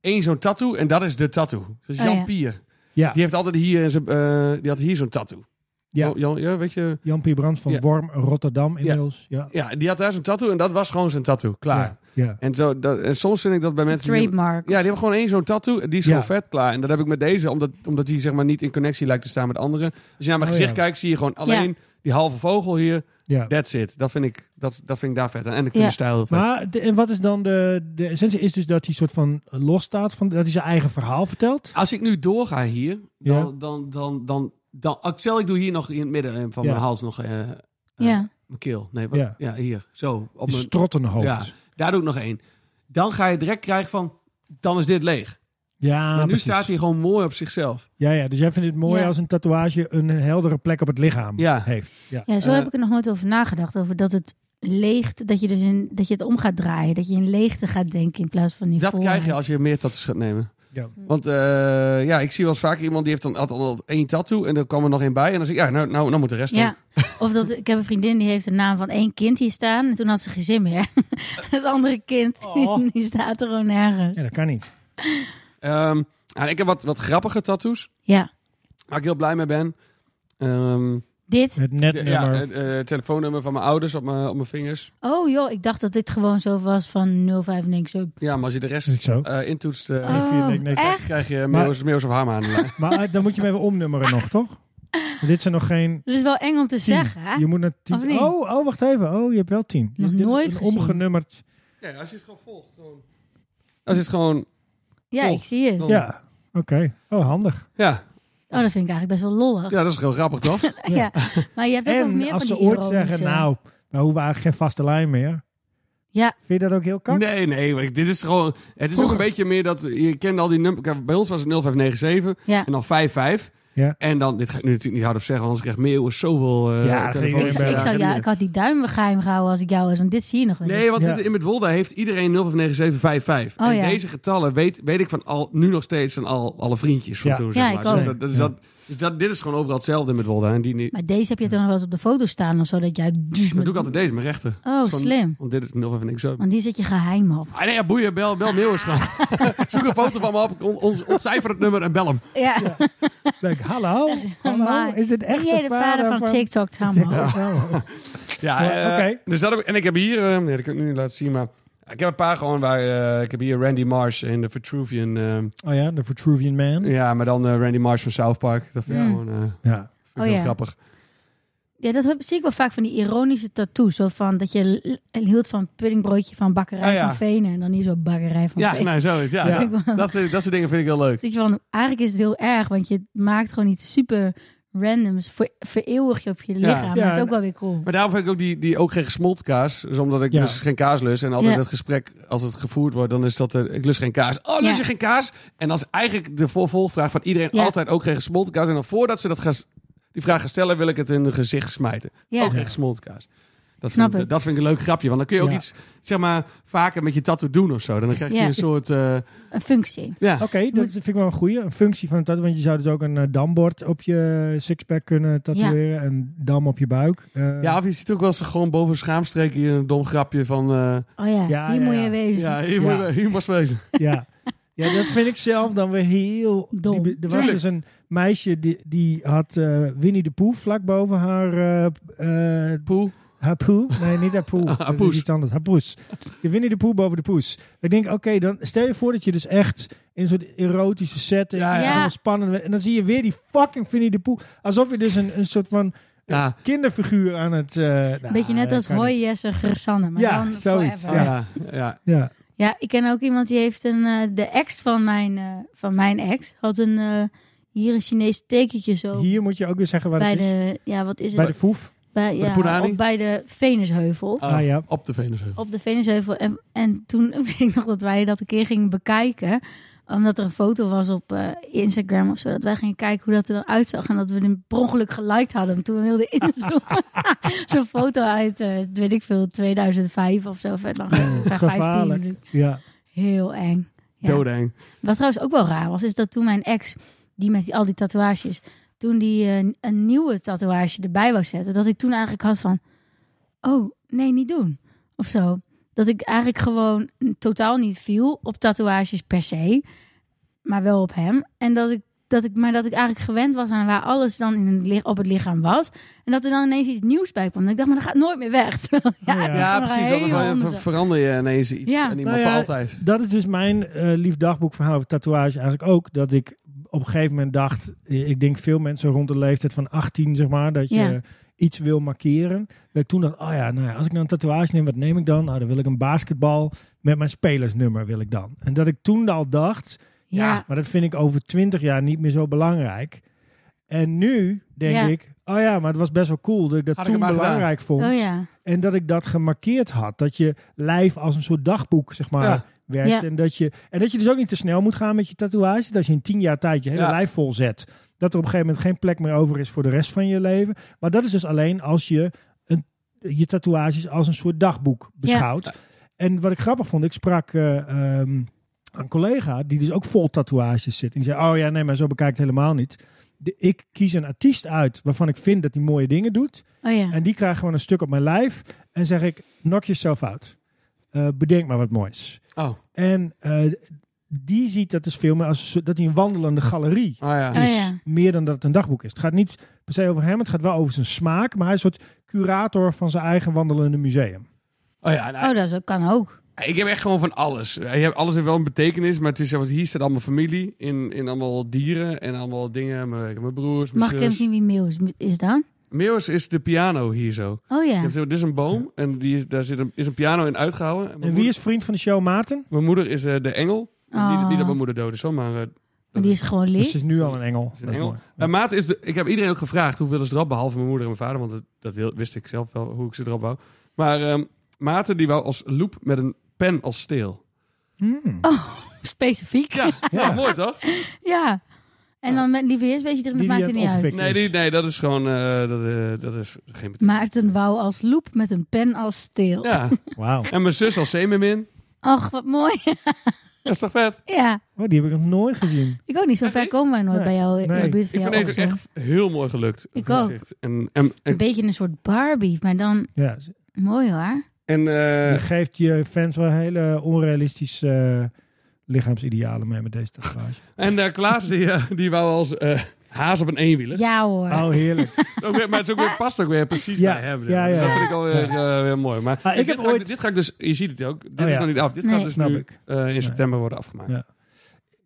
D: één zo'n tattoo en dat is de tattoo. Dus
C: Oh,
D: Jan
C: ja.
D: Pier.
A: Ja.
D: Die heeft altijd hier, in zijn, eh, die had hier zo'n tattoo.
A: Ja.
D: Jan, Jan- ja, weet je...
A: Jan Pier Brands van
D: Ja.
A: Worm Rotterdam inmiddels. Ja.
D: Ja, die had daar zo'n tattoo en dat was gewoon zijn tattoo. Klaar.
A: Ja. ja.
D: En, zo, dat, en soms vind ik dat bij mensen... die-
C: Trademark.
D: ja, die hebben gewoon één zo'n tattoo en die is
A: Ja.
D: gewoon vet klaar. En dat heb ik met deze, omdat, omdat die zeg maar niet in connectie lijkt te staan met anderen. Als je naar mijn
A: Oh,
D: gezicht
A: ja.
D: kijkt, zie je gewoon alleen die halve vogel hier.
A: Ja.
D: That's it. Dat vind ik, dat, dat vind ik daar vet aan. En ik vind
C: Ja.
D: de stijl heel vet.
A: Maar de- en wat is dan de, de essentie? Is dus dat hij soort van los staat, van, dat hij zijn eigen verhaal vertelt?
D: Als ik nu doorga hier, dan,
A: Ja.
D: dan, dan, dan, dan, Axel, ik doe hier nog in het midden eh, van
A: Ja.
D: mijn hals nog eh, eh,
C: Ja.
D: mijn keel. Nee, wat, ja.
A: Ja. Dus
D: hier. Zo. Op
A: Op
D: mijn,
A: strottenhoofd.
D: ja, daar doe ik nog één. Dan ga je direct krijgen van, dan is dit leeg.
A: Ja,
D: maar nu
A: Ah, precies.
D: staat hij gewoon mooi op zichzelf.
A: Ja, ja, dus jij vindt het mooi
C: Ja.
A: als een tatoeage een heldere plek op het lichaam
D: Ja.
A: heeft. Ja.
C: Ja, zo
D: Eh,
C: heb ik er nog nooit over nagedacht. Over dat het leegt, dat je, dus in, dat je het om gaat draaien. Dat je in leegte gaat denken in plaats van in
D: Dat
C: volheid.
D: krijg je als je meer tattoos gaat nemen.
A: Ja.
D: Want eh, ja, ik zie wel eens vaak iemand die heeft dan altijd al één tattoo en dan kwam er nog één bij. En dan zeg ik, ja, nou, nou, nou moet de rest
C: Ja,
D: ook.
C: of dat ik heb een vriendin die heeft de naam van één kind hier staan. En toen had ze geen zin meer. Het andere kind,
A: Oh.
C: die staat er gewoon nergens.
A: Ja, dat kan niet.
D: Ehm, nou, ik heb wat, wat grappige tattoos,
C: Ja,
D: waar ik heel blij mee ben. Ehm,
C: dit.
A: Het net
D: de- ja,
A: nummer.
D: het eh, telefoonnummer van mijn ouders op mijn, op mijn vingers.
C: Oh joh, ik dacht dat dit gewoon zo was van 05 en ik zo...
D: Ja, maar als je de rest
A: Is het zo?
D: eh, intoetst, eh,
A: nee, vier,
C: Oh,
A: nee, nee,
C: echt?
D: krijg je
A: Maar-
D: Meeuws Meeuws of Hama aan de lijn.
A: Maar eh, dan moet je hem even omnummeren nog, toch? Want dit zijn nog geen
C: Dat is wel eng om te
A: tien.
C: zeggen, hè?
A: Je moet naar
C: Of
A: tien.
C: niet?
A: Oh, oh, wacht even. Oh, je hebt wel tien.
C: Nog
A: Dit is
C: nooit
A: een
C: gezien.
A: omgenummerd.
D: Ja, als je het gewoon volgt. Gewoon. Als je het gewoon...
C: Ja, ik zie het.
D: Dan-
A: Ja, oké. Oh, handig.
D: Ja,
C: Oh, dat vind ik eigenlijk best wel lollig. Ja,
D: ja dat is heel grappig, toch?
C: Maar je hebt ook nog
A: En
C: meer
A: als
C: van
A: ze
C: die eh?
A: ooit zeggen,
C: ironische-
A: nou, we hoeven eigenlijk geen vaste lijn meer.
C: Ja.
A: Vind je dat ook heel kak?
D: Nee, nee. maar ik- dit is gewoon... Het is ook een
A: Vroeger.
D: beetje meer dat... Je kent al die nummers... Bij ons was het 0597
C: Ja.
D: en dan 55.
A: Ja.
D: En dan... Dit ga ik nu natuurlijk niet hardop zeggen, anders krijgt Meeuws zoveel eh
A: Ja, dat
D: telefoons.
A: ging
C: Ik,
A: ben
C: ik,
A: daar
C: zou, ja, ik had die duim geheim gehouden als ik jou was, want dit zie je nog wel eens.
D: Nee, want
A: Ja.
D: dit- in het Wolda heeft iedereen 059755.
C: Oh,
D: en
C: ja.
D: deze getallen weet, weet ik van al, nu nog steeds van al, alle vriendjes van
A: Ja.
D: toen.
C: Ja,
D: zeg maar.
C: ik
D: Dus
C: ook.
D: dat, dus
A: Ja.
D: dat, dus dat, dit is gewoon overal hetzelfde in het Wolda. En die, niet.
C: Maar deze heb je toch nog wel eens op de foto staan of zo, dat jij... dus
D: dan doe ik altijd deze, mijn rechter.
C: Oh,
D: Is gewoon-
C: slim.
D: Want dit is nog even niks zo.
C: Want die zet je geheim op.
D: Ah nee, ja, boeien, bel, bel Meeuwis gewoon. Zoek een foto van me op, on- ons, ontcijfer het nummer en bel hem.
C: Ja,
A: Denk, hallo? hallo?
C: maar-
A: Is dit echt
C: ben jij de vader van, TikTok, Tammo?
A: Ja.
D: Ja,
A: Ja,
D: eh,
A: oké.
D: dus dat heb ik, en ik heb hier, eh, nee, dat kan ik nu niet laten zien, maar ik heb een paar gewoon waar, eh, ik heb hier Randy Marsh in de Vitruvian, eh,
A: Oh ja, de Vitruvian Man. Ja.
D: ja, maar dan eh, Randy Marsh van South Park. Dat vind ik
C: Ja.
D: gewoon eh, vind ik
C: Mm. Oh,
D: heel
C: ja.
D: grappig.
C: Ja, dat heb- zie ik wel vaak van die ironische tattoos. Zo van dat je l- hield van puddingbroodje van bakkerij
D: Ah, ja.
C: van Venen. En dan niet zo bakkerij van
D: Ja,
C: Venen.
D: nee, zoiets, ja.
A: Ja.
D: Dat, dat soort dingen vind ik heel leuk.
C: Dat je van, eigenlijk is het heel erg. Want je maakt gewoon iets super randoms. Ver, vereeuwig je op je lichaam. Maar
A: Ja,
C: dat is ook
A: en-
C: wel weer cool.
D: Maar daarom vind ik ook die, die ook geen gesmolten kaas. Dus omdat ik
A: Ja.
D: dus geen kaas lust. En altijd
C: Ja.
D: het gesprek, als het gevoerd wordt, dan is dat... eh, ik lust geen kaas. Oh, lust
C: Ja.
D: je geen kaas? En dan is eigenlijk de vervolgvraag van iedereen
C: Ja.
D: altijd ook geen gesmolten kaas. En dan voordat ze dat gaan, s- die vraag gaan stellen, wil ik het in hun gezicht smijten.
C: Ja.
D: Ook geen gesmolten kaas. Dat
C: Snap
D: vind, ik.
C: ik.
D: dat vind ik een leuk grapje. Want dan kun je ook
A: Ja.
D: iets, zeg maar, vaker met je tattoo doen of zo. Dan krijg je
C: Ja.
D: een soort... eh,
C: Een functie.
D: ja.
A: Oké, dat
C: Moet-
A: vind ik wel een goede. Een functie van het tattoo. Want je zou dus ook een eh, dambord op je eh, sixpack kunnen tatoeëren. En dam op je buik. Eh,
D: ja, of je ziet ook wel eens gewoon boven schaamstreek hier een dom grapje van... eh,
C: Oh ja,
A: Ja,
C: hier
A: ja,
C: moet
A: ja.
C: je wezen.
D: ja, hier, moet je- hier was wezen.
A: ja. ja, dat vind ik zelf dan weer heel...
C: Dom.
A: Die be- er was
D: Tuurlijk.
A: dus een meisje die, die had eh, Winnie de Pooh vlak boven haar... eh, eh,
D: Poel.
A: haar poe? Nee, niet haar poe.
D: Haar
A: Dat
D: poes.
A: is iets anders. Haar poes. De Winnie de Pooh boven de poes. Ik denk, oké, dan stel je voor dat je dus echt in een soort erotische setting.
D: Ja,
A: Ja,
D: ja.
C: Ja.
A: spannend. En dan zie je weer die fucking Winnie de Pooh. Alsof je dus een, een soort van
D: Ja.
A: kinderfiguur aan het... eh, nou,
C: Beetje net als
A: kan niet.
C: Hoi Jesse Gersanne, maar
A: Ja,
C: dan
A: zoiets,
C: forever.
D: Ja.
C: Ja.
D: Ah, Ja. Ja.
A: Ja.
C: ik ken ook iemand die heeft een... eh, de ex van mijn, eh, van mijn ex had een... eh, hier een Chinees tekentje zo.
A: Hier moet je ook weer zeggen waar
C: bij
A: het is.
C: de... Ja, wat is het?
A: Bij de Foef.
C: bij,
D: de
C: ja,
D: Poenani?
C: op- bij de Venusheuvel.
D: Oh,
A: Ah, ja.
D: Op de Venusheuvel.
C: op de Venusheuvel. En, en toen weet ik nog dat wij dat een keer gingen bekijken. Omdat er een foto was op eh, Instagram of zo. Dat wij gingen kijken hoe dat er dan uitzag. En dat we hem per ongeluk geliked hadden. Toen we wilden inzoomen. Zo'n foto uit, eh, weet ik veel, 2005 of eh, zo. Vet lang. geleden.
A: Gevaarlijk.
C: 15.
A: Ja.
C: Heel eng. Ja.
D: Dodeng.
C: Wat trouwens ook wel raar was, is dat toen mijn ex, die met die, al die tatoeages, toen die eh, een nieuwe tatoeage erbij wou zetten, dat ik toen eigenlijk had van, oh nee, niet doen. Of zo. Dat ik eigenlijk gewoon totaal niet viel op tatoeages per se, maar wel op hem. En dat ik, dat ik, maar dat ik eigenlijk gewend was aan waar alles dan in het, li- op het lichaam was. En dat er dan ineens iets nieuws bij kwam. En ik dacht, maar dat gaat nooit meer weg. Terwijl,
A: Ja,
C: het
A: Ja,
D: Ja,
C: kwam er
D: precies. Dan
C: helemaal
D: ver-
C: anders
D: ver-
C: uit.
D: verander je ineens iets.
C: Ja.
D: En iemand
A: Nou ja,
D: voor altijd.
A: Dat is dus mijn eh, lief dagboekverhaal over tatoeage eigenlijk ook. Dat ik op een gegeven moment dacht, eh, ik denk veel mensen rond de leeftijd van 18 zeg maar, dat je
C: Ja.
A: iets wil markeren. Dat ik toen dacht, oh ja, nou ja, als ik nou een tatoeage neem, wat neem ik dan? Nou, dan wil ik een basketbal met mijn spelersnummer wil ik dan. En dat ik toen al dacht, ja,
C: Ja,
A: maar dat vind ik over 20 jaar niet meer zo belangrijk. En nu denk
C: Ja.
A: ik, oh ja, maar het was best wel cool dat ik dat
D: Had ik
A: toen
D: hem maar gedaan.
A: belangrijk vond.
C: oh ja.
A: En dat ik dat gemarkeerd had. Dat je lijf als een soort dagboek, zeg maar,
D: Ja.
A: werkt.
C: Ja.
A: En, dat je, en dat je dus ook niet te snel moet gaan met je tatoeage. Dat als je in tien jaar tijd je hele
D: Ja.
A: lijf vol zet. Dat er op een gegeven moment geen plek meer over is voor de rest van je leven. Maar dat is dus alleen als je een, je tatoeages als een soort dagboek beschouwt. En wat ik grappig vond, ik sprak eh, ehm, een collega die dus ook vol tatoeages zit. En die zei, oh ja, nee, maar zo bekijkt het helemaal niet. De- ik kies een artiest uit waarvan ik vind dat hij mooie dingen doet.
C: Oh ja.
A: En die krijgen gewoon een stuk op mijn lijf. En zeg ik, knock yourself out. Eh, bedenk maar wat moois.
D: Oh, oh
A: En eh, die ziet dat dus veel meer als een soort- dat hij een wandelende galerie
D: ja.
C: Oh
A: is.
C: ja.
A: Meer dan dat het een dagboek is. Het gaat niet per se over hem. Het gaat wel over zijn smaak. Maar hij is een soort curator van zijn eigen wandelende museum.
D: Oh ja, nou,
C: Oh, dat is ook- kan ook.
D: ik heb echt gewoon van alles. Je hebt- Alles heeft wel een betekenis, maar het is, zoals- hier staat allemaal familie in, in allemaal dieren en allemaal dingen. Mijn, mijn broers, mijn
C: Mag ik even
D: zus.
C: zien wie Meeuwis is dan?
D: Meeuwis is de piano hier zo.
C: Oh
D: Je
C: ja.
D: hebt zo- dit is een boom en die is, daar zit een, is een piano in uitgehouden. mijn
A: En wie
D: moeder-
A: is vriend van de show, Maarten?
D: Mijn moeder is eh, de engel. En Die,
C: Oh.
D: niet dat mijn moeder dood is, hoor, maar... eh,
C: Maar die is gewoon
A: Dus ze
C: lief.
A: is nu al een engel.
D: is
A: Dat
D: een
A: is
D: engel.
A: mooi.
D: Eh, maat is de- ik heb iedereen ook gevraagd hoe willen ze erop, behalve mijn moeder en mijn vader, want dat, dat wil- wist ik zelf wel hoe ik ze erop wou. Maar ehm Maarten die wou als loop met een pen als steel.
A: Hmm.
C: Oh. Specifiek. Ja.
D: Ja, ja, mooi toch?
C: En dan met lieve heers, weet je, dat
A: Die
C: maakt
A: die
C: het
A: het
C: niet uit.
A: opfikt.
D: Nee, die, nee, dat is gewoon eh, dat, eh, dat is geen betekenis.
C: Maarten wou als loep met een pen als steel.
D: Ja,
A: Wauw.
D: en mijn zus als zeemermin.
C: Och, wat mooi.
D: Dat is toch vet?
C: ja.
A: Oh, die heb ik nog nooit gezien.
C: Ik ook niet. Zo
D: Echt
C: ver
D: niet?
C: komen wij nooit
A: Nee.
C: bij jou in de
A: Nee.
C: buurt
D: Ik
C: van
D: vind
C: jou. of
D: deze
C: zo.
D: echt heel mooi gelukt.
C: Ik
D: Het
C: ook.
D: gezicht. En, en,
C: Een
D: en,
C: beetje een soort Barbie, maar dan
A: Ja,
C: mooi hoor.
D: en, eh,
A: Je geeft je fans wel hele onrealistische eh, lichaamsidealen mee met deze tatoeage.
D: en eh, Klaas die, eh, die wou als eh, haas op een eenwieler.
C: Ja hoor.
A: Oh, heerlijk.
D: Ook weer- maar het is ook weer, past ook weer precies
A: Ja,
D: bij hem. zeg
A: ja,
D: maar. Dus
A: ja.
D: dat vind ik alweer eh, weer mooi. Maar
A: Ah, ik
D: dit,
A: heb
D: ga ik-
A: ooit-
D: dit ga ik dus, je ziet het ook, dit
A: Oh,
D: is
A: ja.
D: nog niet af. Dit
C: Nee.
D: gaat dus
A: Snap
D: nu
A: ik.
D: eh, in september worden afgemaakt.
A: Ja.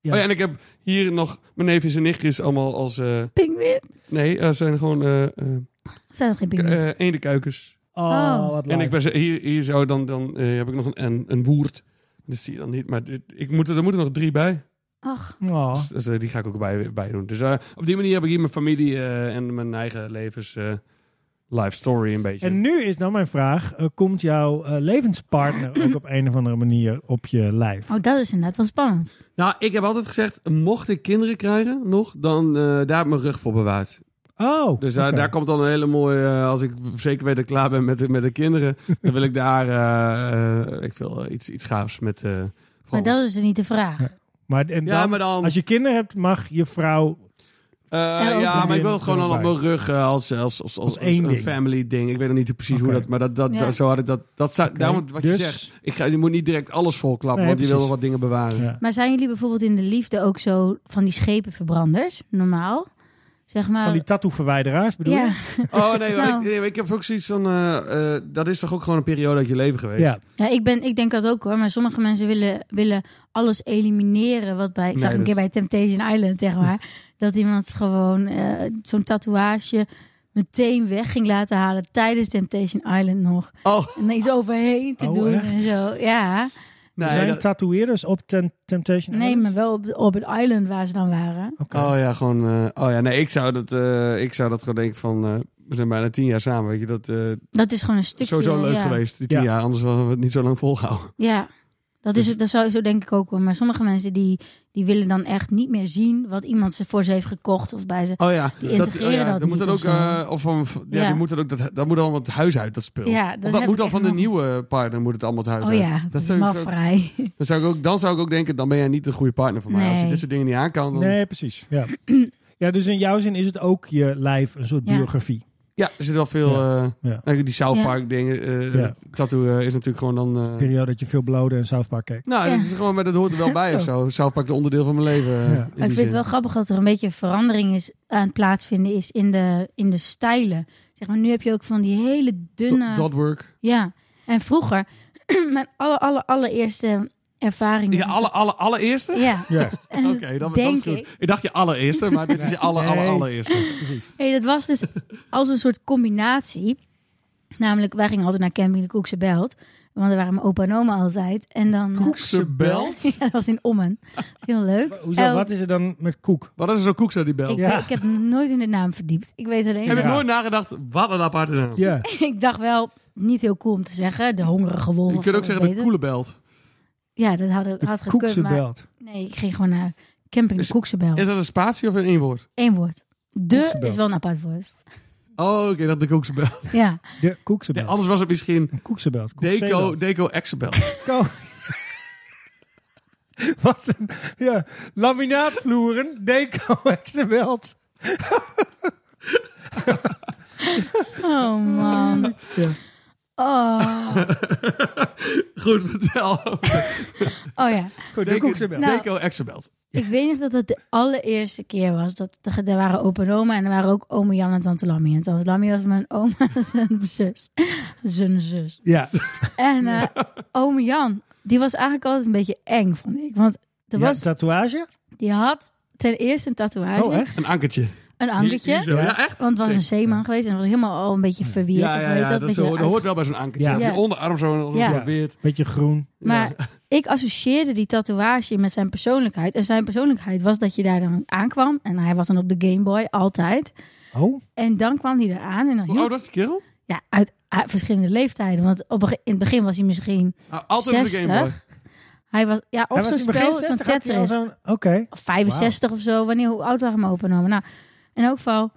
A: Ja.
D: Oh ja, en ik heb hier nog mijn neefjes en nichtjes allemaal als... eh,
C: Pinguïn.
D: nee, eh, zijn gewoon eh eh,
C: Of zijn dat geen
D: k-
A: Mm.
C: pinguïn?
D: eh, eendenkuikens.
A: Oh,
C: Oh.
A: wat leuk.
D: En ik ben, ze- hier, hier zou dan, dan eh, heb ik nog een, een, een woerd. Dat zie je dan niet. Maar dit, ik moet, er er moeten nog drie bij.
C: Ach,
A: Oh.
D: Dus, dus, eh, die ga ik ook bij, bij doen. Dus eh, op die manier heb ik hier mijn familie eh, en mijn eigen levens... eh, life story een beetje.
A: En nu is dan mijn vraag, eh, komt jouw eh, levenspartner ook op een of andere manier op je lijf?
C: oh, dat is inderdaad wel spannend.
D: Nou, ik heb altijd gezegd, mocht ik kinderen krijgen nog, dan eh, daar heb ik mijn rug voor bewaard.
A: Oh,
D: Dus daar-
A: oké.
D: daar komt dan een hele mooie, eh, als ik zeker weet dat ik klaar ben met de, met de kinderen, dan wil ik daar, eh, eh, ik wil eh, iets, iets gaafs met... eh,
C: Maar
D: vrouwen.
C: dat is dus niet de vraag.
A: Maar, en
D: ja,
A: dan,
D: maar dan...
A: als je kinderen hebt, mag je vrouw...
D: eh,
C: ook
D: ja, maar ik wil
A: vriendinnen
D: het gewoon al op
A: erbij.
D: mijn rug eh, als, als, als, als,
A: Als
D: als
A: één
D: een
A: ding.
D: family ding. Ik weet nog niet precies hoe
A: Oké.
D: dat, maar dat, dat,
C: Ja.
D: dat- zo had ik dat, dat zou, daarom wat je
A: Dus-
D: zegt. Ik ga, je moet niet direct alles volklappen,
A: Nee,
D: want je wil wel
A: precies.
D: wat dingen bewaren.
A: Ja.
C: Maar zijn jullie bijvoorbeeld in de liefde ook zo van die schepenverbranders, normaal? Zeg maar.
A: Van die tattoo-verwijderaars bedoel
C: Oh. ja,
A: je?
D: Oh nee, maar
C: Nou.
D: ik, nee, maar ik heb ook zoiets van... eh, eh, dat is toch ook gewoon een periode uit je leven geweest?
A: Ja.
C: ja ik, ben, ik denk dat ook hoor. Maar sommige mensen willen, willen alles elimineren. Wat bij, ik
D: Nee,
C: zag een
D: dat-
C: keer bij Temptation Island, zeg maar. dat iemand gewoon eh, zo'n tatoeage meteen weg ging laten halen tijdens Temptation Island nog.
D: Oh,
C: En er iets overheen te
A: Oh,
C: doen
A: echt?
C: en zo. Ja.
D: nee.
A: Er zijn
D: dat-
A: tatoeëerders op Tem- Temptation
C: Nee,
A: Island?
C: maar wel op, op het island waar ze dan waren.
A: Oké.
D: Oh ja, gewoon... eh, oh ja, nee, ik zou dat, eh, ik zou dat gewoon denken van... eh, we zijn bijna tien jaar samen, weet je. Dat eh,
C: Dat is gewoon een stukje.
D: sowieso leuk
C: ja.
D: geweest, die tien
A: Ja.
D: jaar. Anders hadden we het niet zo lang volgehouden.
C: Ja, dat
D: Dus-
C: is het. Dat zou zo denk ik ook wel. Maar sommige mensen die, die willen dan echt niet meer zien wat iemand ze voor ze heeft gekocht of bij ze.
D: Oh ja.
C: Die integreren dat
D: dan moet
C: niet
D: dat ook,
C: of zo.
D: eh, of van, v- ja,
C: Ja.
D: Die moet dat, ook dat, dat moet allemaal het huis uit, dat spul.
C: Ja,
D: of
C: dat
D: dat
C: heb
D: moet
C: ik
D: dan
C: echt
D: van de
C: nog-
D: nieuwe partner moet het allemaal het huis
C: Oh
D: uit.
C: ja,
D: dat zou ik zo-
C: mafvrij.
D: Dan zou, ik ook, dan zou ik ook denken, dan ben jij niet de goede partner voor mij. Als je
C: Nee.
D: dit soort dingen niet aan kan, dan...
A: Nee, precies. Ja. ja, dus in jouw zin is het ook je lijf een soort
C: Ja.
A: biografie.
D: Ja, er zit wel veel... eh,
A: Ja.
D: nou, Die South
C: Ja.
D: Park dingen. eh,
A: Ja.
D: Tattoo eh, is natuurlijk gewoon dan... eh,
A: Periode dat je veel blode en South Park keek.
D: nou,
C: Ja. Oh.
D: dat, is gewoon, maar dat hoort er wel bij of zo. South Park, de onderdeel van mijn leven. eh,
A: Ja.
D: in
A: Maar ik
C: Maar
D: die
C: ik vind
D: zin.
C: het wel grappig dat er een beetje verandering is eh, aan het plaatsvinden is in de, in de stijlen. Zeg maar, nu heb je ook van die hele dunne.
D: Do- Dot work.
C: Ja, en vroeger, mijn aller, aller, allereerste ervaring.
D: Je alle, alle, allereerste?
C: Ja,
A: Ja,
C: en
D: Oké, dat, dat
C: denk
D: is goed.
C: ik.
D: Ik. dacht je allereerste, maar dit is je alle, alle,
A: Nee.
D: allereerste.
A: precies.
C: Hey, dat was dus als een soort combinatie. Namelijk, wij gingen altijd naar Camping de Koekse Belt. Want daar waren mijn opa en oma altijd. En dan... eh,
D: Koekse belt?
C: Ja, dat was in Ommen. Heel leuk.
A: Hoezo,
C: El-
A: wat is er dan met koek?
D: Wat is er zo koeksa die belt?
C: ik,
D: Ik
A: Ja.
C: weet- ik heb nooit in de naam verdiept. Ik weet alleen...
D: Heb ik
A: Ja.
D: nooit nagedacht, wat een aparte naam.
A: Ja,
C: Ik dacht wel, niet heel cool om te zeggen. De hongerige wolf.
D: Je
C: of
D: kunt ook
C: zo,
D: zeggen
C: weet
D: de
C: het.
D: koele belt.
C: Ja, dat had, had gekund.
A: koekse
C: Maar
A: belt.
C: nee, ik ging gewoon naar Camping de
D: Is-
C: Koekse Belt.
D: Is dat een spatie of in één woord?
C: Eén woord.
A: Koekse
C: De
A: Belt.
C: is wel een apart woord.
D: Oh, oké, dat de koekse belt.
C: Ja.
A: De koekse
D: Nee,
A: belt.
D: anders was het misschien
A: Koekse belt.
D: Deco, Deco Exabel.
A: Ko- Was een ja, laminaatvloeren, deco heksenbelt.
C: Oh man.
A: Ja.
C: Oh.
D: Goed, vertel.
C: Oh ja.
A: Goed, de
D: Deco-
A: koeksebelt.
C: Nou.
D: Deco Exabelt.
C: Ik weet nog dat het de allereerste keer was. Dat, dat, er waren opa en oma en er waren ook oom Jan en tante Lammy. En tante Lammy was mijn oma en zijn zus. Zijn zus.
A: Ja,
C: En eh oom Jan, die was eigenlijk altijd een beetje eng, vond ik. Want
A: Ja,
C: er was,
A: tatoeage?
C: die had ten eerste een tatoeage.
A: Oh, echt?
D: Een ankertje.
C: Een
D: Hier- hier
C: ankertje.
D: zo.
A: Ja.
D: Ja, echt?
C: Want het was een
D: Sick.
C: zeeman geweest en was helemaal al een beetje verweerd.
D: Ja,
C: of
D: ja,
C: hoe heet
D: ja,
C: dat?
D: dat,
C: Een
D: is
C: beetje
D: wel- dat
C: uit-
D: hoort wel bij zo'n ankertje.
A: Ja.
D: Op je
C: Ja.
D: onderarm zo
C: Ja.
D: geprobeerd.
A: Beetje groen.
C: Maar ik associeerde die tatoeage met zijn persoonlijkheid. En zijn persoonlijkheid was dat je daar dan aankwam. En hij was dan op de Game Boy, altijd.
A: Oh,
C: En dan kwam hij eraan. En dan
D: Hoe
C: hield,
D: oud was die Oh, kerel?
C: ja, uit, uit verschillende leeftijden. Want op, een ge- in het begin was hij misschien...
D: Nou, altijd op de
C: 60.
D: Game Boy.
C: Hij was, ja,
A: hij
C: of
A: was in
C: zo'n
A: het begin
C: spel, zo'n
A: 60 had hij al
C: Tetris.
A: zo'n... Oké.
C: Of 65 of zo. Wanneer, hoe oud waren we opgenomen? Nou, in elk geval...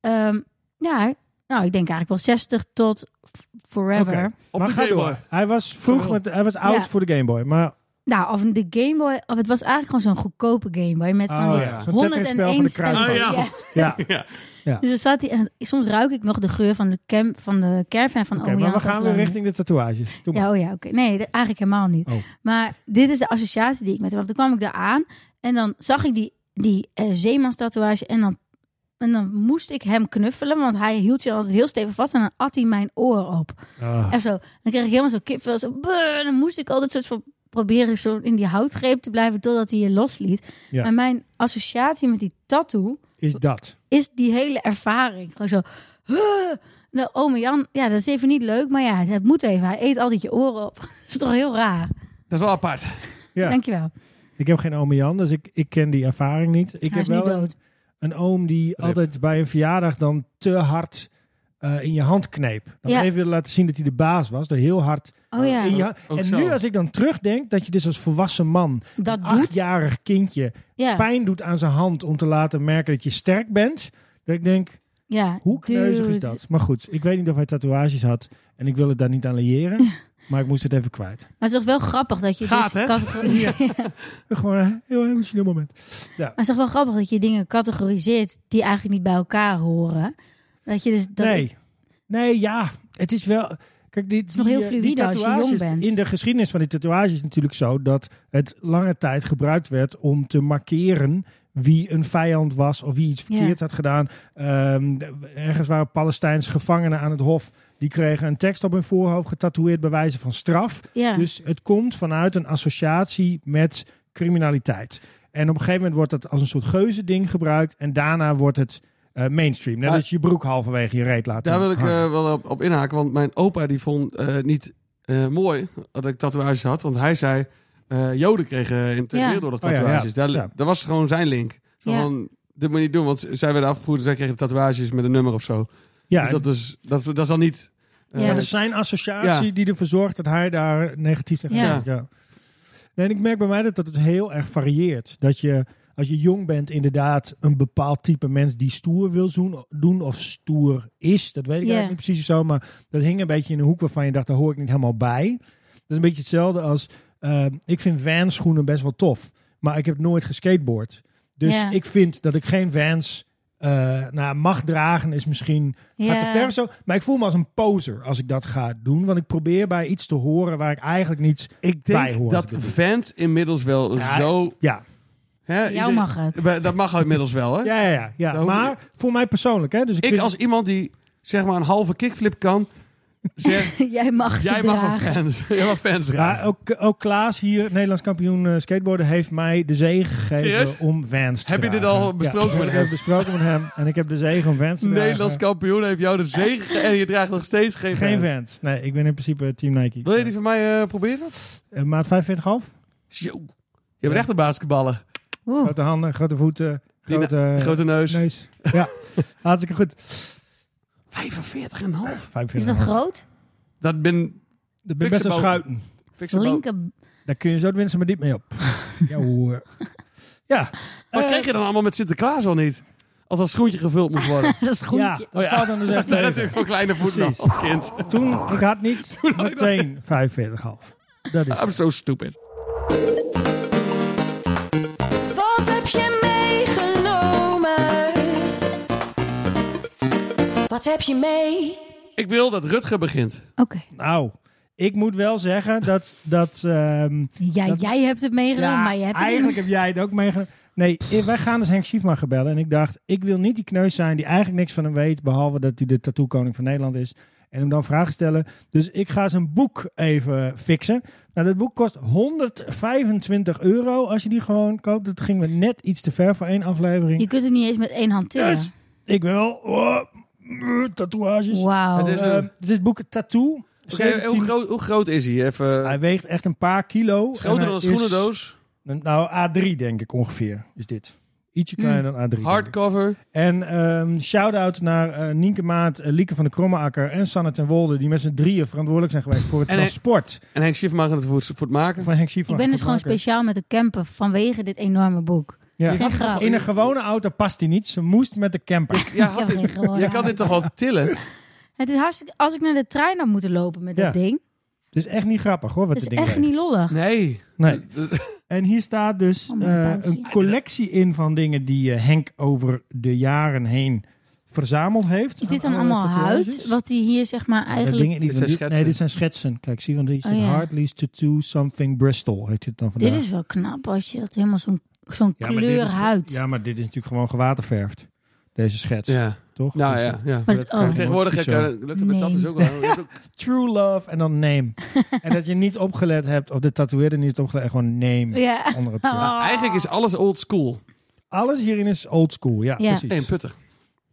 C: ehm, ja, nou, ik denk eigenlijk wel 60 tot f- forever.
A: Oké.
D: Op
A: maar
D: de
A: ga
D: Game
A: door.
D: Boy.
A: Hij was vroeg,
D: Sorry.
A: met, hij was oud
C: Ja.
A: voor de Game Boy. Maar,
C: Nou, of de Game Boy... Of het was eigenlijk gewoon zo'n goedkope Game Boy. Met van
A: oh
C: die
A: ja, zo'n Tetris-spel van
C: 101
A: de
C: spelletjes.
A: kruidvat.
D: Oh ja.
A: ja.
D: Ja.
C: Dus dan staat hij en soms ruik ik nog de geur van de, cam, van de caravan van
A: Oké,
C: Omiyan
A: maar we
C: tot
A: gaan weer
C: Laren.
A: richting de tatoeages. Doe maar.
C: Ja, oh ja, oké. Nee, dat- eigenlijk helemaal niet.
A: Oh.
C: Maar dit is de associatie die ik met hem heb. Toen kwam ik daar aan en dan zag ik die, die eh, zeemanstatoeage en dan, en dan moest ik hem knuffelen, want hij hield je altijd heel stevig vast en dan at hij mijn oor op.
A: Ah.
C: Echt zo. Dan kreeg ik helemaal zo kipvel. Zo, brrr, dan moest ik altijd soort van proberen zo in die houtgreep te blijven totdat hij je losliet.
A: Ja.
C: Maar mijn associatie met die tattoo
A: Is dat.
C: is die hele ervaring. Gewoon zo. "Huh." Nou, ome Jan, ja, dat is even niet leuk, maar ja, het moet even. Hij eet altijd je oren op. Dat is toch heel raar.
D: Dat is wel apart.
A: Ja.
C: Dankjewel.
A: Ik heb geen oom Jan, dus ik, ik ken die ervaring niet. Ik
C: Hij
A: heb
C: is nu
A: wel een-
C: dood.
A: een oom die altijd bij een verjaardag dan te hard eh, in je hand kneep. Dan
C: Ja.
A: even wilde laten zien dat hij de baas was. Door heel hard
C: Oh ja,
A: eh, in je hand.
D: Ook
A: En
D: zo.
A: nu als ik dan terugdenk dat je dus als volwassen man,
C: dat
A: een
C: doet.
A: achtjarig kindje,
C: Ja,
A: pijn doet aan zijn hand om te laten merken dat je sterk bent. Dat ik denk,
C: ja. Dus-
A: hoe kneuzig is
C: Dude.
A: dat? Maar goed, ik weet niet of hij tatoeages had en ik wil het daar niet aan leren. Maar ik moest het even kwijt.
C: Maar het is toch wel grappig dat je.
D: Gaat,
C: dus
D: hè?
C: categori-
A: Gewoon een heel emotioneel moment.
C: Maar het is toch wel grappig dat je dingen categoriseert die eigenlijk niet bij elkaar horen. Dat je dus. Dat
A: nee. Nee, ja. Het is wel... Kijk, dit is
C: nog heel fluïde als je jong bent.
A: In de geschiedenis van die tatoeages is natuurlijk zo dat het lange tijd gebruikt werd om te markeren wie een vijand was of wie iets verkeerd had gedaan. Ehm, de- ergens waren Palestijnse gevangenen aan het hof. Die kregen een tekst op hun voorhoofd getatoeëerd bij wijze van straf.
C: Ja.
A: Dus het komt vanuit een associatie met criminaliteit. En op een gegeven moment wordt dat als een soort geuzending gebruikt. En daarna wordt het eh, mainstream. Net
D: Maar-
A: als je je broek halverwege je reet laat
D: Daar wil ik
A: hangen.
D: eh, wel op, op inhaken, want mijn opa die vond eh, niet eh, mooi dat ik tatoeages had. Want hij zei, eh, joden kregen in
C: Ja.
D: ja. door dat
A: Oh ja,
D: tatoeages.
A: ja,
D: Daar,
A: ja.
D: daar was gewoon zijn link. Zo
C: Ja.
D: van, dit moet je niet doen, want z- zij werden afgevoerd en zij kregen tatoeages met een nummer of zo.
A: ja,
D: dus dat is, dat, dat is dan niet... eh,
C: Ja.
A: Dat is zijn associatie
D: Ja.
A: die ervoor zorgt dat hij daar negatief tegen
C: Ja.
A: kijkt, ja. Nee, en ik merk bij mij dat dat het heel erg varieert. Dat je, als je jong bent, inderdaad een bepaald type mens die stoer wil zoen- doen of stoer is. Dat weet ik
C: Ja.
A: eigenlijk niet precies of zo, maar dat hing een beetje in een hoek waarvan je dacht, daar hoor ik niet helemaal bij. Dat is een beetje hetzelfde als, eh, ik vind Vans-schoenen best wel tof, maar ik heb nooit geskateboard. Dus
C: Ja.
A: ik vind dat ik geen Vans eh, nou, mag dragen is misschien Gaat te ver zo. Maar ik voel me als een poser als ik dat ga doen. Want ik probeer bij iets te horen waar ik eigenlijk niet...
D: ik
A: bij
D: denk
A: hoort
D: dat
A: het erbij.
D: fans inmiddels wel
A: Ja,
D: zo...
A: Ja,
D: Hè,
C: Jou
D: ieder-
C: mag het.
D: Bij- Dat mag inmiddels wel, hè?
A: ja, ja. ja, ja.
D: Daar hoef-
A: Maar voor mij persoonlijk. Hè? Dus ik,
D: Nou, Ik
A: vind-
D: als iemand die zeg maar een halve kickflip kan, zeg
C: Jij mag ze
D: jij mag wel
C: dragen.
D: fans, jij mag fans dragen.
A: Ja, ook, ook Klaas hier, Nederlands kampioen eh, skateboarden, heeft mij de zegen gegeven
D: Serieus?
A: om Vans te
D: Heb je dit
A: dragen.
D: al besproken
A: Ja,
D: met
A: ik
D: hem?
A: heb besproken met hem. En ik heb de zegen om Vans te
D: Nederlands
A: dragen.
D: kampioen heeft jou de zegen ge- en je draagt nog steeds geen,
A: Geen
D: fans.
A: Vans. Nee, ik ben in principe Team Nike.
D: Wil je die van mij eh, proberen?
A: Eh, maat 45,5.
D: Yo. Je bent echt een basketballer.
C: Oeh.
A: Grote handen, grote voeten,
D: Die na-
A: grote, eh,
D: Grote neus.
A: neus. Ja, hartstikke goed.
D: 45,5.
A: 45,5.
C: Is dat groot?
D: Dat ben
A: Dat ben best wel
D: Pixelboom.
A: schuiten.
D: ik zo boos.
C: Linker.
A: Daar kun je zo het winst maar diep mee op. ja hoor. Ja.
D: Wat
A: Eh,
D: kreeg je dan allemaal met Sinterklaas al niet? Als dat schoentje gevuld moet worden.
C: Dat is goed.
A: Ja, dat valt dan dus echt
D: Oh Dat zijn
A: tegen.
D: natuurlijk voor kleine voeten
A: Precies.
D: als kind.
A: Toen, ik had niet
D: had ik dat-
A: meteen 45,5. Dat is
D: I'm so stupid.
E: Wat heb je meegenomen? Wat heb je mee?
D: Ik wil dat Rutger begint.
C: Oké.
A: Nou, ik moet wel zeggen dat... dat ehm,
C: Ja,
A: Dat-
C: jij hebt het meegenomen, maar je hebt het
A: eigenlijk heb jij het ook meegenomen. Nee, i- wij gaan dus Henk Schiefma gebellen. En ik dacht, ik wil niet die kneus zijn die eigenlijk niks van hem weet. Behalve dat hij de tattoo koning van Nederland is. En hem dan vragen stellen. Dus ik ga zijn boek even fixen. Nou, dat boek kost 125 euro als je die gewoon koopt. Dat ging me net iets te ver voor één
C: niet. Je
A: aflevering.
C: kunt het niet eens met één hand tillen.
A: Yes. Ik wil oh, mm, tatoeages.
C: Wauw.
D: Het is-
A: Eh, dus dit boek Tattoo.
D: Oké,
A: 17
D: hoe, groot, hoe groot is hij? Even,
A: Hij weegt echt een paar kilo.
D: is groter
A: En
D: dan een
A: hij is-
D: schoenendoos.
A: Nou, A3 denk ik ongeveer is dit. Ietsje kleiner dan A3. denk ik.
D: Hardcover.
A: En ehm shout-out naar eh, Nienke Maat, eh, Lieke van de Krommeakker en Sanne ten Wolde. Die met z'n drieën verantwoordelijk zijn geweest voor het
D: En hij-
A: transport
D: En Henk Schiefmacher het voor, voor het maken.
A: van Henk Schiefer.
C: Ik ben dus
A: Van
C: gewoon
A: Marken.
C: speciaal met de camper vanwege dit enorme boek.
A: Ja.
C: Geen grap.
A: In een gewone auto past hij niet. Ze moest met de camper.
D: Ja,
C: Ik heb
D: had
C: geen
D: dit,
C: gehoor
D: je
C: aan.
D: kan dit toch wel tillen?
C: Het is hartstikke... Als ik naar de trein had moeten lopen met
A: Ja.
C: dat ding...
A: Dus echt niet grappig hoor, wat
C: Dat is
A: het ding
C: echt
A: weegt.
C: niet lollig.
D: Nee.
A: Nee. En hier staat dus
C: Oh, mijn
A: eh,
C: buikje.
A: een collectie in van dingen die eh, Henk over de jaren heen verzameld heeft.
C: Is dit
A: Aan
C: dan allemaal
A: tatoeages.
C: huid? Wat die hier zeg maar
A: Ja,
C: eigenlijk...
A: dingen die-
D: Dit zijn
A: die-
D: schetsen.
A: nee, dit zijn schetsen. Kijk, zie, want hier staat
C: Oh, ja.
A: Hardly's Tattoo Something Bristol. Heet dit dan vandaag.
C: Dit is wel knap als je dat helemaal zo'n zo'n
A: Ja, maar dit
C: kleur
A: is-
C: huid.
A: Ja, maar dit is natuurlijk gewoon gewaterverfd. Deze schets,
D: Ja.
A: toch?
D: Nou
A: Dus,
D: ja.
A: eh,
D: ja.
C: Maar-
D: Dat-
C: oh.
D: maar Tegenwoordig
A: Precies
D: eh,
A: zo.
D: lukt het met dat
C: Nee.
D: dus ook wel. Je hebt ook-
A: True love en dan name. en dat je niet opgelet hebt, of de tatoeëerder niet opgelet heeft, gewoon name.
C: Ja.
A: Onder het
C: Oh.
A: plaat.
D: Nou, Eigenlijk is alles old school.
A: Alles hierin is old school, ja,
C: Ja.
D: Nee, een
A: precies.
D: putter.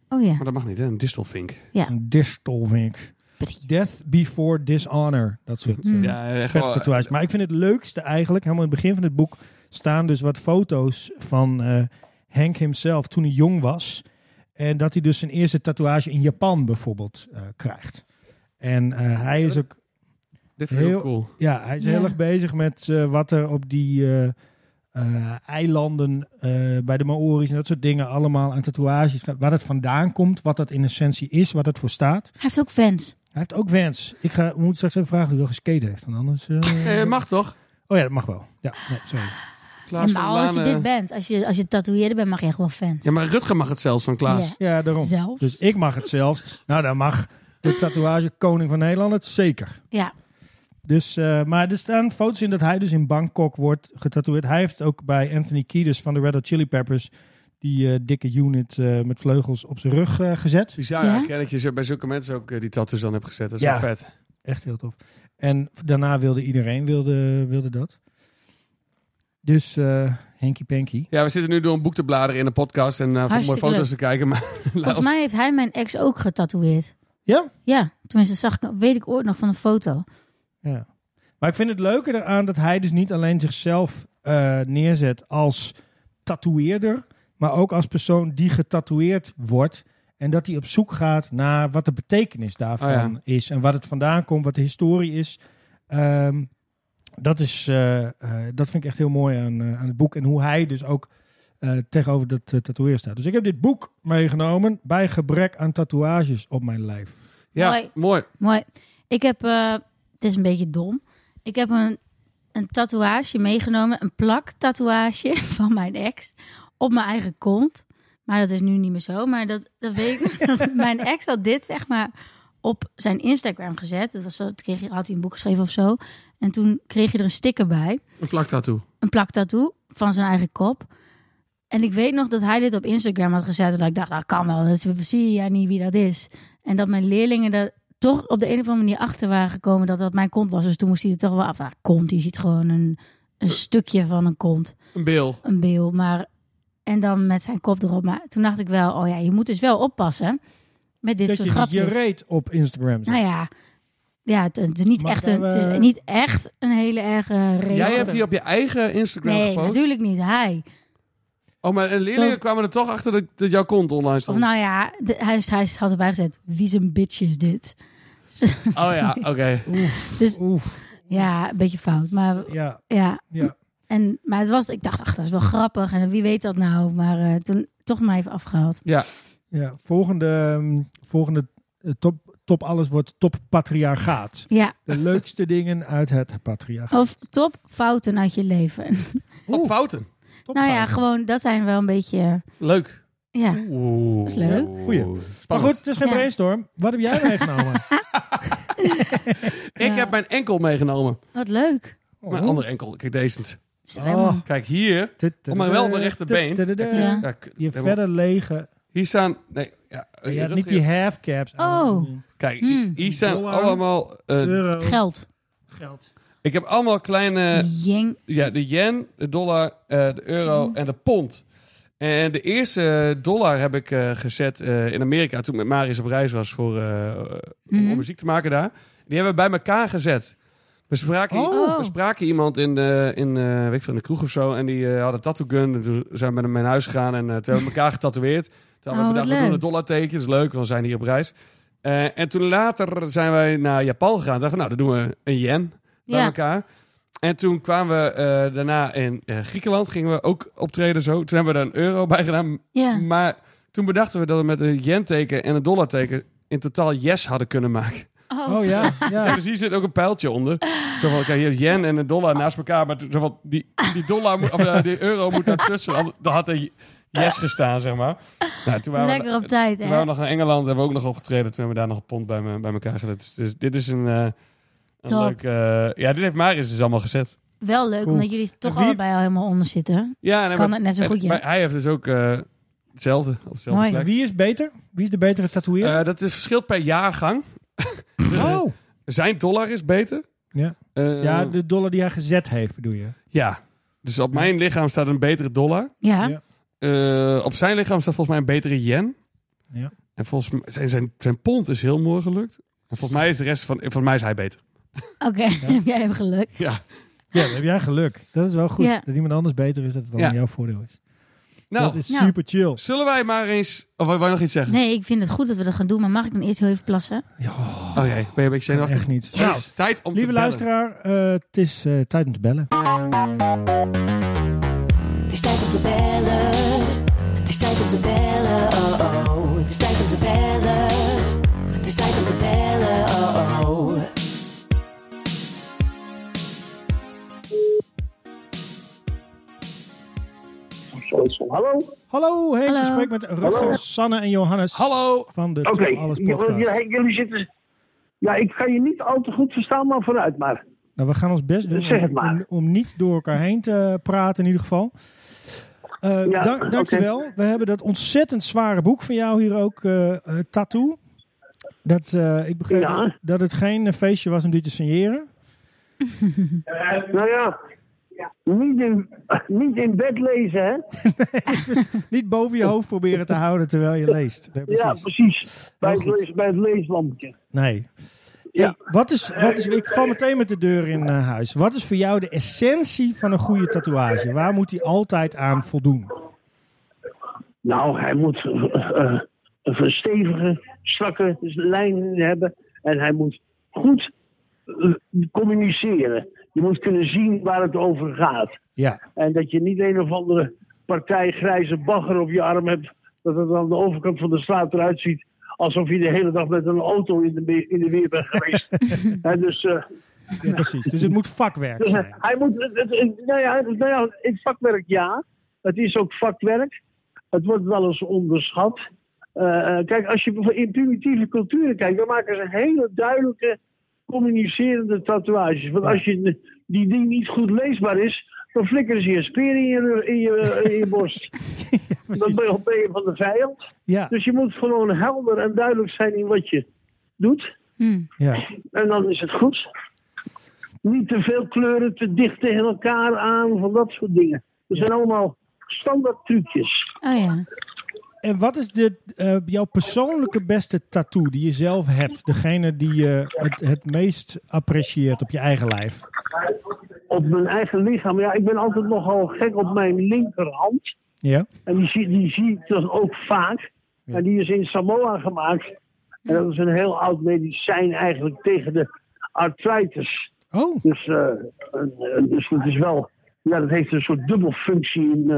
C: Oh ja.
D: Maar dat mag niet, hè? Een distelvink.
A: Een distel, vind ik. Death before dishonor. Dat soort
C: Hmm.
A: eh,
D: Ja, echt
A: vette
D: wel.
A: tatoeages. Maar ik vind het leukste eigenlijk, helemaal in het begin van het boek, staan dus wat foto's van eh, Henk himself toen hij jong was. En dat hij dus zijn eerste tatoeage in Japan bijvoorbeeld eh, krijgt. En eh, hij is ook
D: Dit vind ik
A: Heel-
D: heel cool.
A: ja, hij is
C: Ja.
A: heel erg bezig met eh, wat er op die eh, eh, eilanden eh, bij de Maori's en dat soort dingen allemaal aan tatoeages gaat. Waar dat vandaan komt, wat dat in essentie is, wat dat voor staat.
C: Hij heeft ook fans.
A: Hij heeft ook wens. Ik ga, we moeten straks even vragen of hij wel geskate heeft. Want anders, eh,
D: Eh, mag toch?
A: Oh ja, dat mag wel. Ja, nee, sorry.
C: Ja,
D: Klaas
C: maar
D: van
C: als je
D: Laan,
C: dit
D: eh,
C: bent, als je, als je tatoeëerder bent, mag je echt wel fans.
D: Ja, maar Rutger mag het zelfs van Klaas.
C: Ja.
A: Ja, daarom.
C: Zelfs?
A: Dus ik mag het zelfs. Nou, dan mag de tatoeage koning van Nederland, het zeker.
C: Ja.
A: Dus, eh, maar er staan foto's in dat hij dus in Bangkok wordt getatoeëerd. Hij heeft ook bij Anthony Kiedis van de Red Hot Chili Peppers die eh, dikke unit eh, met vleugels op zijn rug eh, gezet.
D: Bizar
C: Ja?
D: eigenlijk, hè, dat je zo- bij zulke mensen ook eh, die tattoos dan hebt gezet. Dat is
A: Ja.
D: wel vet.
A: Echt heel tof. En daarna wilde iedereen wilde, wilde dat. Dus eh Henky Panky.
D: Ja, we zitten nu door een boek te bladeren in een podcast en eh voor mooie
C: Hartstikke
D: foto's
C: leuk.
D: te kijken. Maar
C: Volgens mij heeft hij mijn ex ook getatoeëerd.
A: Ja?
C: Ja, tenminste, zag ik, weet ik ooit nog van een foto.
A: Ja. Maar ik vind het leuker eraan dat hij dus niet alleen zichzelf eh, neerzet als tatoeëerder, maar ook als persoon die getatoeëerd wordt. En dat hij op zoek gaat naar wat de betekenis daarvan
D: Oh ja.
A: is en wat het vandaan komt, wat de historie is. Ehm, dat, is eh, eh, dat vind ik echt heel mooi aan, eh, aan het boek en hoe hij dus ook eh, tegenover dat eh, tatoeëer staat. Dus ik heb dit boek meegenomen bij gebrek aan tatoeages op mijn lijf.
D: ja,
C: Mooi.
D: mooi.
C: Mooi. Ik heb, eh, het is een beetje dom. Ik heb een, een tatoeage meegenomen, een plak tatoeage van mijn ex op mijn eigen kont. Maar dat is nu niet meer zo. Maar dat, dat weet ik. nog. mijn ex had dit zeg maar op zijn Instagram gezet. Dat was zo, toen kreeg, je- had hij een boek geschreven of zo. En toen kreeg je er een sticker bij
D: Een plaktattoo.
C: een plak tattoo van zijn eigen kop. En ik weet nog dat hij dit op Instagram had gezet. En dat ik dacht, dat kan wel. Dat zie jij niet wie dat is. En dat mijn leerlingen er toch op de een of andere manier achter waren gekomen dat dat mijn kont was. Dus toen moest hij er toch wel af. Ah, kont, je ziet gewoon een, een stukje van een kont.
D: Een bil.
C: Een beel. Maar, en dan met zijn kop erop. Maar toen dacht ik wel, oh ja, je moet dus wel oppassen met dit
A: dat je
C: soort
A: niet je
C: grapjes.
A: reet op Instagram zet.
C: nou ja, ja het, het is niet
A: Maar
C: echt een, het is
A: we-
C: niet echt een hele erge reden.
D: Jij hebt die op je eigen Instagram
C: Nee,
D: gepost?
C: natuurlijk niet. Hij.
D: Oh, maar eh, leerlingen
C: Zo-
D: kwamen er toch achter dat, dat jouw kont online
C: Of
D: stond?
C: nou ja, de, hij, is- hij is- had erbij gezet, wie zijn bitch is dit? nou-
D: oh ja, oké.
C: Dus
A: Oef,
C: ja, een beetje fout. Maar
A: ja,
C: ja,
A: ja.
C: en, maar het was, ik dacht, ach, dat is wel grappig. En wie weet dat nou? Maar eh, toen toch maar even afgehaald.
D: Ja,
A: ja. Volgende, ehm, volgende eh, top, top alles wordt top patriarchaat.
C: Ja,
A: De leukste dingen uit het patriarchaat.
C: of top fouten uit je leven.
D: op fouten.
A: Top
C: nou ja,
A: fouten.
C: gewoon, dat zijn wel een beetje, eh,
D: Leuk.
C: ja.
D: Oeh.
C: is leuk.
A: Goeie.
D: Oh.
A: Maar goed, het is geen
C: Ja.
A: brainstorm. Wat heb jij meegenomen?
D: Ik
C: Ja.
D: heb mijn enkel meegenomen.
C: Wat leuk.
A: Oh.
D: Mijn andere enkel. Kijk, deze.
C: Is er helemaal-
D: Kijk, hier.
A: Om
D: maar wel mijn rechterbeen.
C: Ja.
D: Ja, k-
A: Je
D: helemaal-
A: verder lege.
D: Hier staan... Nee, ja,
A: Je
D: je
A: hebt
D: rug
A: niet
D: hier.
A: die half caps. aan.
C: Oh.
D: Kijk,
C: Hmm.
D: hier staan
A: Dollar.
D: allemaal... eh,
A: Euro.
C: Geld.
A: Geld.
D: ik heb allemaal kleine...
C: Jeng.
D: Ja, de yen, de dollar, eh, de euro
C: Mhm.
D: en de pond. En de eerste dollar heb ik eh, gezet eh, in Amerika toen ik met Marius op reis was voor, eh, om, om
C: Mhm.
D: muziek te maken daar. Die hebben we bij elkaar gezet. We spraken,
C: Oh.
D: we spraken iemand in de, in, eh, weet ik veel, in de kroeg of zo en die eh, had een tattoo gun. En toen zijn we met hem naar huis gegaan en eh, toen hebben we elkaar getatoeëerd. Toen hebben
C: Oh,
D: we
C: wat
D: bedacht, we doen
C: leuk.
D: een dollar teken, is leuk, want we zijn hier op reis. Eh, en toen later zijn wij naar Japan gegaan. Dachten, we, nou, dan doen we een yen bij
C: Ja.
D: elkaar. En toen kwamen we eh, daarna in eh, Griekenland, gingen we ook optreden zo. Toen hebben we daar een euro bij gedaan.
C: Ja.
D: Maar toen bedachten we dat we met een yen-teken en een dollar-teken in totaal yes hadden kunnen maken.
C: Oh,
A: Oh ja.
D: Ja,
A: ja.
D: dus hier zit ook een pijltje onder. Zo van, kijk, je hebt yen en een dollar naast elkaar. Maar zo van, die, die, dollar moet, of, eh, die euro moet daartussen. Anders- Dan had er yes gestaan, zeg maar. Nou, toen waren we,
C: lekker op tijd,
D: toen waren
C: hè?
D: we nog in Engeland, hebben we ook nog opgetreden. Toen hebben we daar nog een pond bij, me, bij elkaar gezet. Dus, dus dit is een, eh, een
C: Top.
D: leuk... eh, ja, dit heeft Marius dus allemaal gezet.
C: Wel leuk,
A: Cool.
C: omdat jullie toch
A: En wie-
C: allebei al helemaal onder zitten.
D: Ja, nee,
C: Kan
D: maar-
C: het net zo
D: en-
C: goed, ja.
D: Maar hij heeft dus ook eh, hetzelfde, op dezelfde
C: Mooi.
D: plek.
A: Wie is beter? Wie is de betere tatoeëerder?
D: Eh, dat is verschilt per jaargang. Eh,
A: oh.
D: Zijn dollar is beter.
A: Ja.
D: Eh,
A: Ja, de dollar die hij gezet heeft, bedoel je?
D: ja. Dus op mijn lichaam staat een betere dollar.
C: Ja.
A: Ja.
D: Eh, op zijn lichaam staat volgens mij een betere yen.
A: Ja.
D: En volgens mij zijn, zijn, zijn pond is heel mooi gelukt. En volgens mij is de rest van, volgens mij is hij beter.
C: Oké, heb jij even geluk.
D: Ja. Nou,
A: Ja, dan heb jij geluk. Dat is wel goed.
C: Ja.
A: Dat iemand anders beter is, dat het dan
D: Ja.
A: jouw voordeel is. dat
D: Nou,
A: is
C: Ja.
A: super chill.
D: zullen wij maar eens. Of wou je nog iets zeggen?
C: Nee, ik vind het goed dat we dat gaan doen, maar mag ik dan eerst heel even plassen?
D: Oh jee, ben je een beetje zenuwachtig?
A: Echt niet.
D: Het
A: Nou,
D: is tijd om
A: lieve
D: te bellen.
A: luisteraar, eh, het is eh, tijd om te bellen.
E: Het is tijd om te bellen. Het is tijd om te bellen. Oh oh. Het is tijd om te bellen. Het is tijd om te bellen. Oh oh.
B: zoiets van, hallo? Oké,
A: Hallo Henk, je
C: Hallo.
A: spreekt met Rutger,
B: Hallo.
A: Sanne en Johannes.
D: Hallo.
A: Van de Top Alles
B: j-
A: podcast.
B: j- j- jullie zitten... Ja, ik kan je niet al te goed verstaan, maar vooruit maar.
A: Nou, we gaan ons best doen
B: Zeg het
A: om,
B: maar.
A: om, om niet door elkaar heen te praten in ieder geval. Eh
B: Ja,
A: dank,
B: oké.
A: dankjewel. We hebben dat ontzettend zware boek van jou hier ook, eh, eh, Tattoo. Dat, eh, ik begreep
B: Ja.
A: dat, dat het geen eh, feestje was om dit te signeren.
B: Nou ja, niet in, niet in bed lezen, hè?
A: Niet boven je hoofd proberen te houden terwijl je leest. Nee, precies.
B: Ja, precies. Bij het,
A: goed.
B: lees, bij het leeslampje.
A: Nee. Hey, wat is, wat is, ik val meteen met de deur in eh, huis. Wat is voor jou de essentie van een goede tatoeage? Waar moet die altijd aan voldoen?
B: Nou, hij moet eh, eh, een verstevige, strakke lijn hebben. En hij moet goed eh, communiceren. Je moet kunnen zien waar het over gaat.
A: Ja,
B: En dat je niet een of andere partij grijze bagger op je arm hebt. Dat het aan de overkant van de straat eruit ziet. Alsof je de hele dag met een auto in de, me- in de weer bent geweest. en dus, eh,
A: ja, precies. Dus het moet vakwerk
B: dus
A: zijn.
B: hij moet. het- het- nou ja, nou ja, het vakwerk ja. Het is ook vakwerk. Het wordt wel eens onderschat. Eh, eh, kijk, als je voor in primitieve culturen kijkt, dan maken ze hele duidelijke communicerende tatoeages. Want
A: Ja.
B: als je n- die ding niet goed leesbaar is, dan flikkeren ze je speer in je, in je, in je borst. Dan
A: Precies.
B: ben je- ben je van de vijand.
A: Ja,
B: Dus je moet gewoon helder en duidelijk zijn in wat je doet.
C: Hm.
A: ja.
B: En dan is het goed. Niet te veel kleuren te dicht tegen elkaar aan, van dat soort dingen. Dat zijn allemaal standaard trucjes.
C: Oh ja.
A: En wat is de, eh, jouw persoonlijke beste tattoo die je zelf hebt? Degene die je het, het meest apprecieert op je eigen lijf?
B: Op mijn eigen lichaam. Ja, ik ben altijd nogal gek op mijn linkerhand.
A: Ja?
B: En die zie, die zie ik dan ook vaak.
A: Ja.
B: En die is in Samoa gemaakt. En dat is een heel oud medicijn eigenlijk tegen de arthritis.
A: Oh,
B: Dus, eh, en- en dus dat is wel. Ja, dat heeft een soort dubbelfunctie in,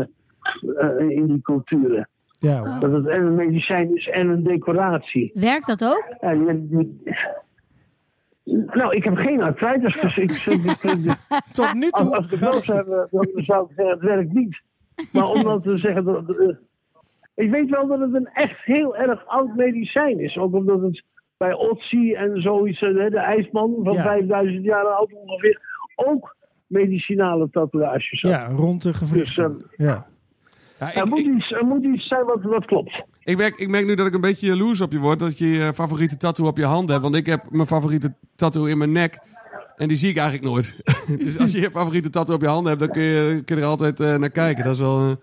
B: eh, eh, in die culturen.
A: ja. wauw.
B: Dat het en een medicijn is en een decoratie.
C: Werkt dat ook?
B: En, je- je- nou, ik heb geen arthritis, dus ik,
A: Tot nu
B: als,
A: toe.
B: Ah, als ik wel zou hebben, dan zou ik zeggen, het werkt niet. Maar om dan te zeggen, dat, eh, ik weet wel dat het een echt heel erg oud medicijn is. Ook omdat het bij Otzi en zoiets, eh, de ijsman van
A: Ja.
B: 5000 jaar oud ongeveer, ook medicinale tatoeages had.
A: Ja, rond de
B: Dus,
A: gewrichten. Ja.
D: Ja, ik,
B: Er, moet
D: ik,
B: iets, er moet iets zijn wat, wat klopt.
D: ik merk, ik merk nu dat ik een beetje jaloers op je word. Dat je je favoriete tattoo op je hand hebt. Want ik heb mijn favoriete tattoo in mijn nek. En die zie ik eigenlijk nooit. dus als je je favoriete tattoo op je hand hebt, dan kun je, kun je er altijd eh, naar kijken. Dat is wel... eh,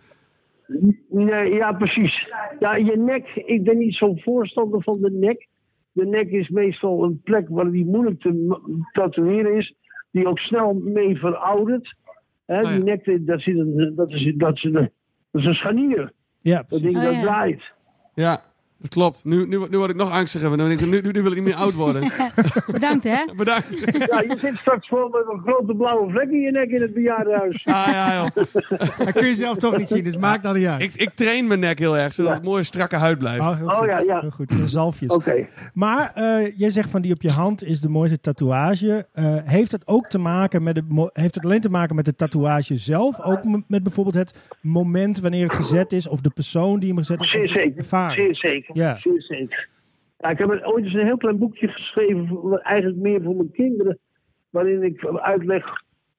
B: Nee, ja, precies. Ja, je nek, ik ben niet zo'n voorstander van de nek. De nek is meestal een plek waar die moeilijk te m- tatoeëren is, die ook snel mee veroudert. Hè,
D: Oh ja.
B: Die nek, dat, zit een, dat, is, dat, is een, dat is een scharnier.
A: ja,
B: Dat
A: precies.
B: ding
C: Oh
B: dat
C: ja.
B: draait.
D: ja, dat klopt. Nu, nu, nu word ik nog angstiger. want dan denk ik, Nu, nu, nu wil ik niet meer oud worden.
C: Bedankt hè.
D: Bedankt.
B: Ja, je zit straks vol met een grote blauwe vlek in je nek in het bejaardenhuis.
D: Ah, ja, joh.
A: Dat kun je zelf toch niet zien, dus maak dat niet uit.
D: Ik, ik train mijn nek heel erg, zodat het mooie strakke huid blijft.
A: Oh, heel
B: Oh,
A: goed.
B: ja, ja.
A: Heel goed. En zalfjes.
B: Oké.
A: Maar eh, jij zegt van die op je hand is de mooiste tatoeage. Eh, heeft dat ook te maken met de, mo- heeft het alleen te maken met de tatoeage zelf? Ook m- met bijvoorbeeld het moment wanneer het gezet is, of de persoon die hem gezet heeft?
B: Zeer
A: of de
B: zeker.
A: ervaring?
B: Zeer zeker.
A: Ja.
B: Zeer zeker. Ja, ik heb er ooit eens een heel klein boekje geschreven, voor- eigenlijk meer voor mijn kinderen, waarin ik uitleg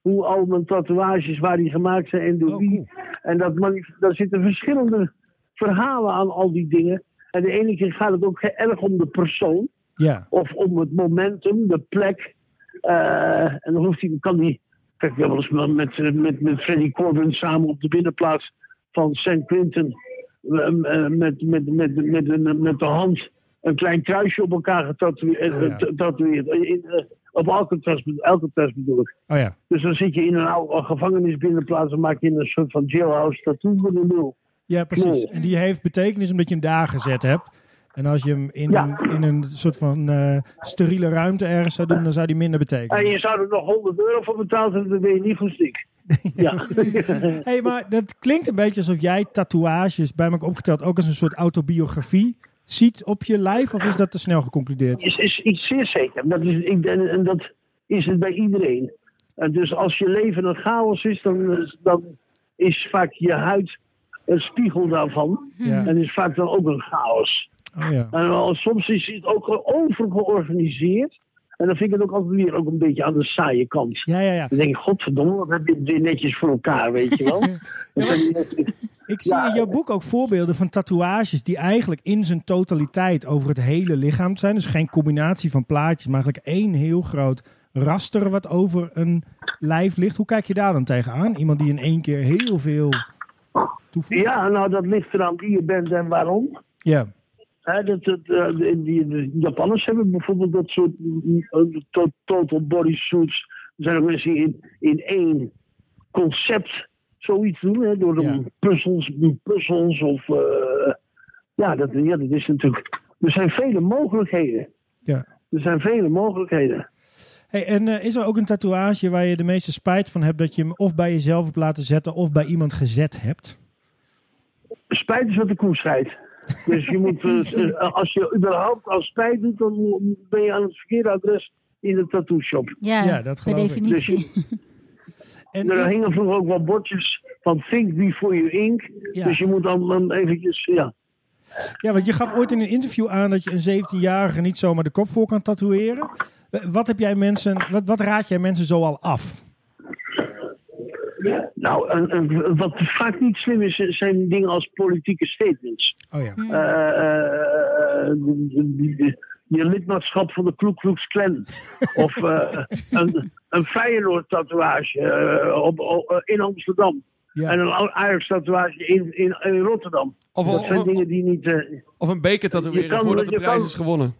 B: hoe al mijn tatoeages, waar die gemaakt zijn en door
A: Oh,
B: wie.
A: cool.
B: En dat mani- daar zitten verschillende verhalen aan al die dingen. En de ene keer gaat het ook heel erg om de persoon
A: Ja,
B: of om het momentum, de plek. Eh, en dan hoeft hij, kan hij. Kijk, ik heb wel eens met, met, met, met Freddy Corbin samen op de binnenplaats van St. Quentin. eh, eh, Met, met, met, met, een- met de hand een klein kruisje op elkaar getatoeëerd.
A: Oh ja.
B: getatoeëerd. Eh, in, eh, Op Alcatraz, be- Alcatraz bedoel ik.
A: oh ja.
B: Dus dan zit je in een oude gevangenis binnenplaats en maak je een soort van jailhouse tattoo voor de nul.
A: Ja, precies.
B: Mooi.
A: En die heeft betekenis omdat je hem daar gezet hebt. En als je hem in,
B: Ja.
A: een, in een soort van eh, steriele ruimte ergens zou doen, dan zou die minder
B: En
A: betekenen.
B: je zou er nog 100 euro voor betaald hebben, dan ben je niet goed ziek. Ja.
A: hey, maar dat klinkt een beetje alsof jij tatoeages bij elkaar opgeteld ook als een soort autobiografie ziet op je lijf. Of is dat te snel geconcludeerd?
B: is, is iets zeer zeker. Dat is, ik, en, en dat is het bij iedereen. Eh, En dus als je leven een chaos is, dan, dan is vaak je huid een spiegel daarvan.
A: Ja.
B: En is vaak dan ook een chaos.
A: Oh ja.
B: En wel, soms is het ook overgeorganiseerd. En dan vind ik het ook altijd weer ook een beetje aan de saaie kant.
A: Ja, ja, ja.
B: Dan denk ik, godverdomme, wat heb je dit netjes voor elkaar, weet je wel. Dan zijn die mensen-
A: Ik zie
B: Ja,
A: in jouw boek ook voorbeelden van tatoeages die eigenlijk in zijn totaliteit over het hele lichaam zijn. Dus geen combinatie van plaatjes, maar eigenlijk één heel groot raster wat over een lijf ligt. Hoe kijk je daar dan tegenaan? Iemand die in één keer heel veel toevoegt?
B: ja, nou dat ligt eraan wie je bent en waarom.
A: Ja.
B: Hè, dat, dat, eh, die, die- de Japanners hebben bijvoorbeeld dat soort mm, eh, to- total body suits. Er zijn ook mensen die in, in één concept zoiets doen. Hè, door de
A: Ja.
B: puzzels, puzzels of... eh, ja, dat, ja, dat is natuurlijk... Er zijn vele mogelijkheden.
A: ja.
B: Er zijn vele mogelijkheden.
A: Hey, en eh, is er ook een tatoeage waar je de meeste spijt van hebt dat je hem of bij jezelf hebt laten zetten of bij iemand gezet hebt?
B: Spijt is wat de koe scheidt. Dus je moet, eh, eh, als je überhaupt al spijt doet, dan mo- ben je aan het verkeerde adres in de tattoo shop.
C: Ja,
A: Ja, dat
C: per
A: geloof ik.
C: definitie.
A: En, eh,
B: Er hingen vroeger ook wel bordjes van think before you ink.
A: Ja.
B: Dus je moet dan, dan eventjes, ja.
A: Ja, want je gaf ooit in een interview aan dat je een 17-jarige niet zomaar de kop voor kan tatoeëren. Eh, Wat, heb jij mensen, wat, wat raad jij mensen zoal af?
B: Nou, en- en wat vaak niet slim is, zijn dingen als politieke statements.
A: Oh ja.
B: Eh, eh, eh, je lidmaatschap van de Ku Klux Klan. of eh, een, een Feyenoord-tatoeage eh, op- op- in Amsterdam. En
A: ja.
B: een Ajax tatoeage in, in, in Rotterdam.
D: Of,
B: dat
D: of-
B: zijn
D: of-
B: dingen die niet. eh,
D: Of een beker
B: Je
D: tatoeëren
B: kan-
D: voordat de
B: je
D: prijs
B: kan-
D: is gewonnen.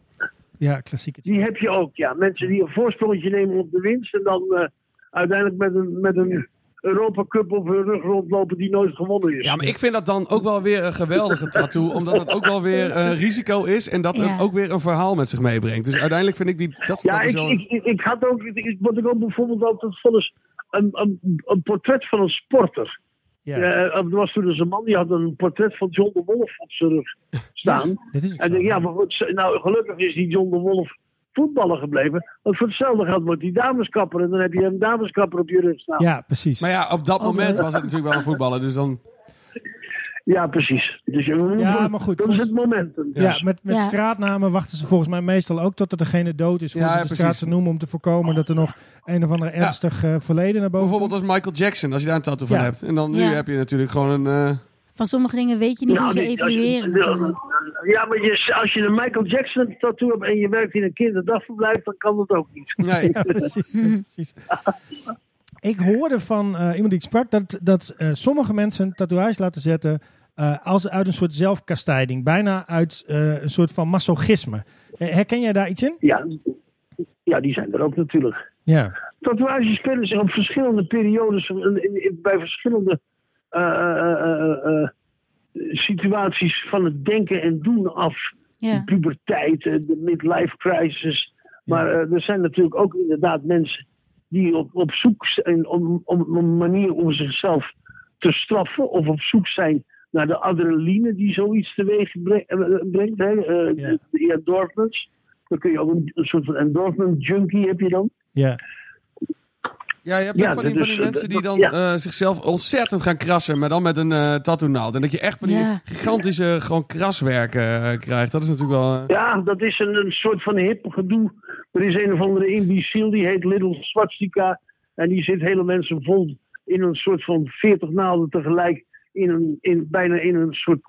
A: Ja, klassiek.
B: die heb je ook, ja. Mensen die een voorsprongetje nemen op de winst. En dan eh, uiteindelijk met een, met een Europa Cup op hun rug rondlopen die nooit gewonnen is.
D: Ja, maar ik vind dat dan ook wel weer een geweldige tattoo. Omdat het ook wel weer een risico is. En dat
C: Ja.
D: het ook weer een verhaal met zich meebrengt. Dus uiteindelijk vind ik die, dat soort
B: Ja,
D: tattoos
B: ik,
D: wel...
B: ik, ik, ik had ook. ik- wat ik ook bijvoorbeeld altijd vond is. Een, een, een portret van een sporter.
A: Ja.
B: Eh, er was toen dus een man die had een portret van John de Wolf op zijn rug staan.
A: Dit is ook
B: En ik denk,
A: zo.
B: ja, maar goed, nou, gelukkig is die John de Wolf voetballer gebleven. Want voor hetzelfde geld wordt die dameskapper. En dan heb je een dameskapper op je rug staan. Ja,
A: ja, precies.
D: Maar ja, op dat moment was het natuurlijk wel een voetballer. Dus dan...
B: precies. Dus je moet-
A: Ja, maar goed,
B: Dat
A: volgens-
B: is het momentum.
A: Ja, met, met
C: Ja.
A: straatnamen wachten ze volgens mij meestal ook totdat degene dood is voor
D: Ja,
A: ze de
D: precies.
A: straat ze noemen om te voorkomen dat er nog een of ander ernstig eh, verleden naar boven
D: Bijvoorbeeld als Michael Jackson. Als je daar een tattoo van
A: Ja.
D: hebt. En dan nu
C: Ja.
D: heb je natuurlijk gewoon een... eh,
C: Van sommige dingen weet je niet
B: Nou,
C: hoe ze
B: die- als je-
C: evolueren natuurlijk.
B: ja, maar je, als je een Michael Jackson tattoo hebt en je werkt in een kinderdagverblijf, dan kan dat ook niet.
D: nee.
A: Ja, precies. precies. Ik hoorde van eh, iemand die ik sprak dat, dat eh, sommige mensen tatoeages laten zetten eh, als uit een soort zelfkastijding. Bijna uit eh, een soort van masochisme. Eh, herken jij daar iets in?
B: Ja, ja die zijn er ook natuurlijk.
A: Ja.
B: Tatoeages spelen zich op verschillende periodes, in- in- in- bij verschillende eh, eh, eh, eh, situaties van het denken en doen af.
C: Ja.
B: De puberteit, eh, de midlife crisis. Maar eh, er zijn natuurlijk ook inderdaad mensen die op, op zoek zijn om, om, om een manier om zichzelf te straffen. Of op zoek zijn naar de adrenaline die zoiets teweeg bre- eh, eh, brengt. Hè? eh,
A: Ja.
B: de, de endorphins. Dan kun je ook een, een soort van endorphin junkie heb je dan.
A: Ja.
D: Ja, je hebt
B: Ja,
D: ook van die,
B: dat
D: van
B: is-
D: die mensen die
B: dat-
D: dan
B: ja.
D: eh, zichzelf ontzettend gaan krassen, maar dan met een eh tattoo naald. En dat je echt van die
C: Ja.
D: gigantische gewoon kraswerken eh, krijgt. Dat is natuurlijk wel... eh,
B: Ja, dat is een, een soort van hip gedoe. Er is een of andere imbeciel, die heet Little Swastika. En die zit hele mensen vol in een soort van 40 naalden tegelijk. In een, in, bijna in een soort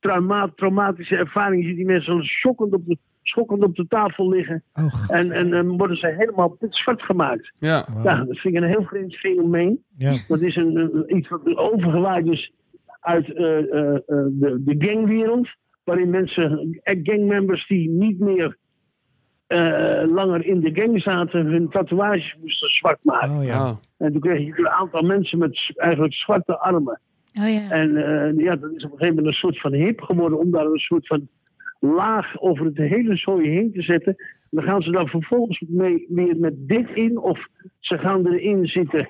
B: trauma, traumatische ervaring. Je ziet die mensen schokkend op de, schokkend op de tafel liggen.
A: Oh, god.
B: En, en dan worden ze helemaal zwart gemaakt.
D: ja.
B: Ja, dat vind ik een heel vreemd fenomeen.
A: Ja.
B: Dat is een, een- iets wat overgewaaid is uit eh, eh, eh, de, de gangwereld. Waarin mensen, eh, gangmembers die niet meer eh, langer in de gang zaten, hun tatoeages moesten zwart maken.
A: Oh, ja.
D: Oh.
B: En toen kreeg je een aantal mensen met z- eigenlijk zwarte armen.
C: Oh ja.
B: En eh, ja, dat is op een gegeven moment een soort van hip geworden om daar een soort van laag over het hele zooi heen te zetten. En dan gaan ze daar vervolgens mee, weer met dit in of ze gaan erin zitten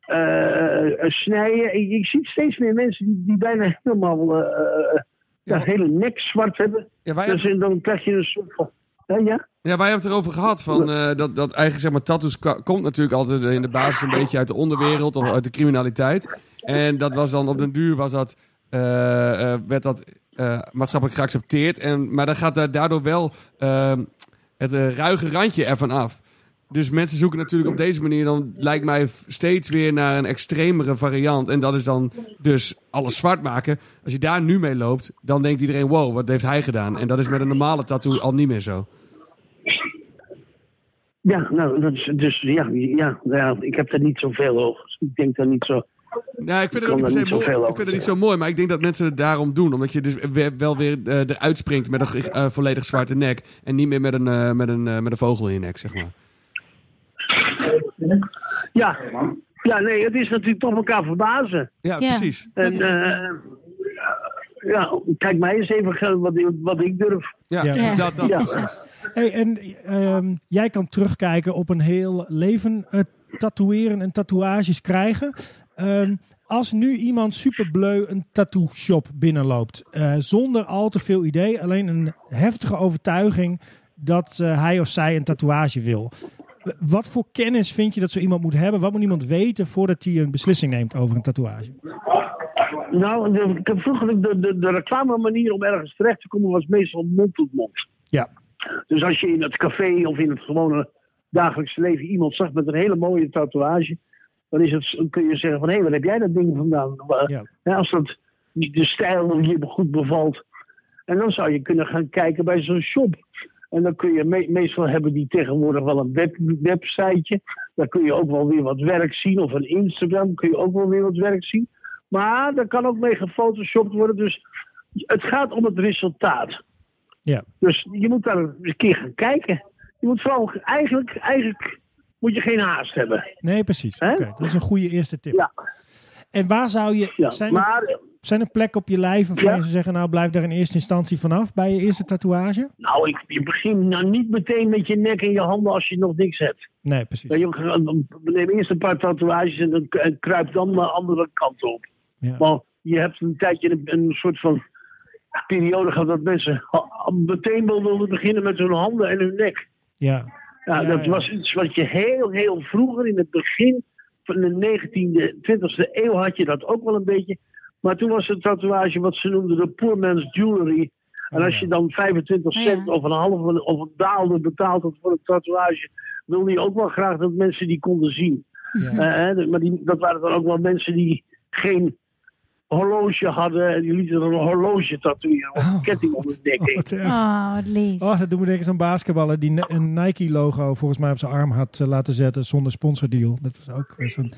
B: eh, eh, snijden. Ik, ik zie steeds meer mensen die, die bijna helemaal eh, eh, ja,
D: maar-
B: hele nek zwart hebben.
D: Ja, wij
B: Dus en dan krijg je een soort van... Ja, ja.
D: Ja, wij hebben het erover gehad. Van, eh, dat, dat eigenlijk, zeg maar, tattoos kwa- komt natuurlijk altijd in de basis een beetje uit de onderwereld of uit de criminaliteit. En dat was dan op den duur was dat eh, eh, werd dat eh, maatschappelijk geaccepteerd. En, maar dan gaat daar daardoor wel ehm, het eh, ruige randje ervan af. Dus mensen zoeken natuurlijk op deze manier dan, lijkt mij, f- steeds weer naar een extremere variant. En dat is dan dus alles zwart maken. Als je daar nu mee loopt, dan denkt iedereen, wow, wat heeft hij gedaan? En dat is met een normale tattoo al niet meer zo.
B: Ja, nou, dat is, dus ja, ja, nou ja, ik heb daar niet zoveel over. Ik denk daar niet zo.
D: Nou, ik
B: Ik
D: vind het ook
B: kan
D: niet per
B: daar
D: se
B: niet zoveel
D: mooi. Ik
B: over
D: vind het niet
B: zeggen.
D: zo mooi, maar ik denk dat mensen het daarom doen. Omdat je dus weer- wel weer eh, eruit springt met een ge- eh, volledig zwarte nek. En niet meer met een, eh, met, een, eh, met een vogel in je nek, zeg maar.
B: Ja, ja nee, het is natuurlijk toch elkaar verbazen.
D: Ja,
C: Ja.
D: precies.
B: En, eh, ja, kijk mij eens even gaan wat, ik- wat ik durf.
D: Ja,
A: Ja.
D: Dus
C: Ja.
D: dat, dat,
B: Ja.
A: Hey, en ehm, jij kan terugkijken op een heel leven eh, tatoeëren en tatoeages krijgen. Ehm, als nu iemand superbleu een tattoo shop binnenloopt, eh, zonder al te veel idee, alleen een heftige overtuiging dat eh, hij of zij een tatoeage wil. W- Wat voor kennis vind je dat zo iemand moet hebben? Wat moet iemand weten voordat hij een beslissing neemt over een tatoeage?
B: Nou, de, de- vroeger de, de, de reclame manier om ergens terecht te komen was meestal mond tot mond.
A: Ja,
B: Dus als je in het café of in het gewone dagelijkse leven iemand zag met een hele mooie tatoeage, dan is het, dan kun je zeggen van hé, waar heb jij dat ding vandaan? Wa-
A: Ja.
B: hè, als dat niet de stijl je goed bevalt. En dan zou je kunnen gaan kijken bij zo'n shop. En dan kun je me- meestal hebben die tegenwoordig wel een web, websiteje. Daar kun je ook wel weer wat werk zien. Of een Instagram kun je ook wel weer wat werk zien. Maar daar kan ook mee gefotoshopt worden. Dus het gaat om het resultaat.
A: ja.
B: Dus je moet daar eens een keer gaan kijken. Je moet vooral eigenlijk, eigenlijk moet je geen haast hebben.
A: Nee, precies. Oké,
B: Hè?
A: dat is een goede eerste tip.
B: Ja,
A: En waar zou je...
B: ja.
A: zijn er-
B: maar
A: Zijn er plekken op je lijf waarvan
B: Ja.
A: je zou zeggen, nou blijf daar in eerste instantie vanaf bij je eerste tatoeage?
B: nou, ik, je begint nou niet meteen met je nek en je handen als je nog niks hebt.
A: Nee, precies.
B: Ja, je, neem eerst een paar tatoeages en, dan, en kruip dan de andere kant op.
A: Ja.
B: Maar je hebt een tijdje een, een soort van periode gehad dat mensen al- meteen wel wilden beginnen met hun handen en hun nek.
A: Ja.
B: Ja,
A: Ja,
B: Nou, dat
A: ja.
B: was iets wat je heel, heel vroeger in het begin van de 19e, 20e eeuw had je dat ook wel een beetje. Maar toen was het tatoeage wat ze noemden de poor man's jewelry. En
A: Oh,
B: als
A: ja.
B: je dan 25
C: Ja,
B: cent
C: ja.
B: of een halve of een daalder betaald had voor een tatoeage, wilde je ook wel graag dat mensen die konden zien.
A: Ja.
B: Eh, hè, maar die, dat waren dan ook wel mensen die geen horloge hadden en die lieten dan een horloge tatoeëren of een
A: Oh,
B: ketting om de nek. heen.
A: Wat erg.
C: Oh, wat lief.
A: Oh, dat doen we denken aan basketballer die ne- een Nike-logo volgens mij op zijn arm had eh, laten zetten zonder sponsordeal. Dat was ook weer zo'n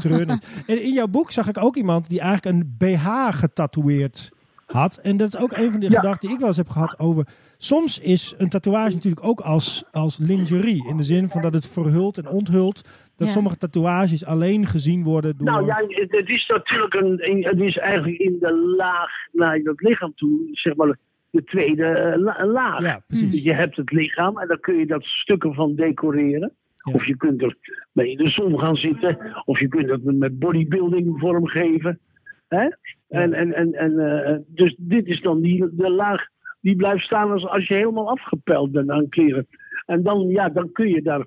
A: treurnis. En in jouw boek zag ik ook iemand die eigenlijk een BH getatoeëerd had. En dat is ook een van de
B: Ja.
A: gedachten die ik wel eens heb gehad over... Soms is een tatoeage natuurlijk ook als, als lingerie. In de zin van dat het verhult en onthult. Dat
C: Ja.
A: sommige tatoeages alleen gezien worden door...
B: Nou ja, het- het is natuurlijk een, een- het is eigenlijk in de laag naar dat lichaam toe, zeg maar de tweede eh, la- laag.
A: Ja, precies.
B: Dus je hebt het lichaam en dan kun je dat stukken van decoreren.
A: Ja.
B: Of je kunt er mee in de zon gaan zitten. Of je kunt dat met bodybuilding vormgeven. Hè? En, en, en, en, eh, dus dit is dan die, de laag die blijft staan als, als je helemaal afgepeld bent aan kleren. En dan, ja, dan kun je daar...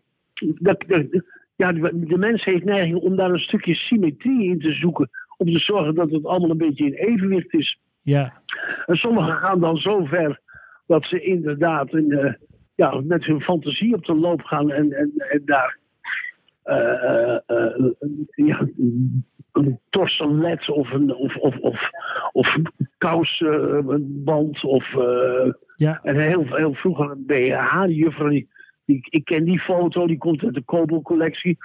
B: dat- dat- ja, de de mens heeft neiging om daar een stukje symmetrie in te zoeken. Om te zorgen dat het allemaal een beetje in evenwicht is.
A: Ja,
B: En sommigen gaan dan zo ver dat ze inderdaad in, eh, ja, met hun fantasie op de loop gaan en, en, en daar eh, eh, eh, ja, een torselet of een of, of, of, of kousband of eh,
A: ja.
B: en heel, heel vroeger een BH, die juffrouw, die, die- ik ken die foto, die komt uit de Kobel collectie.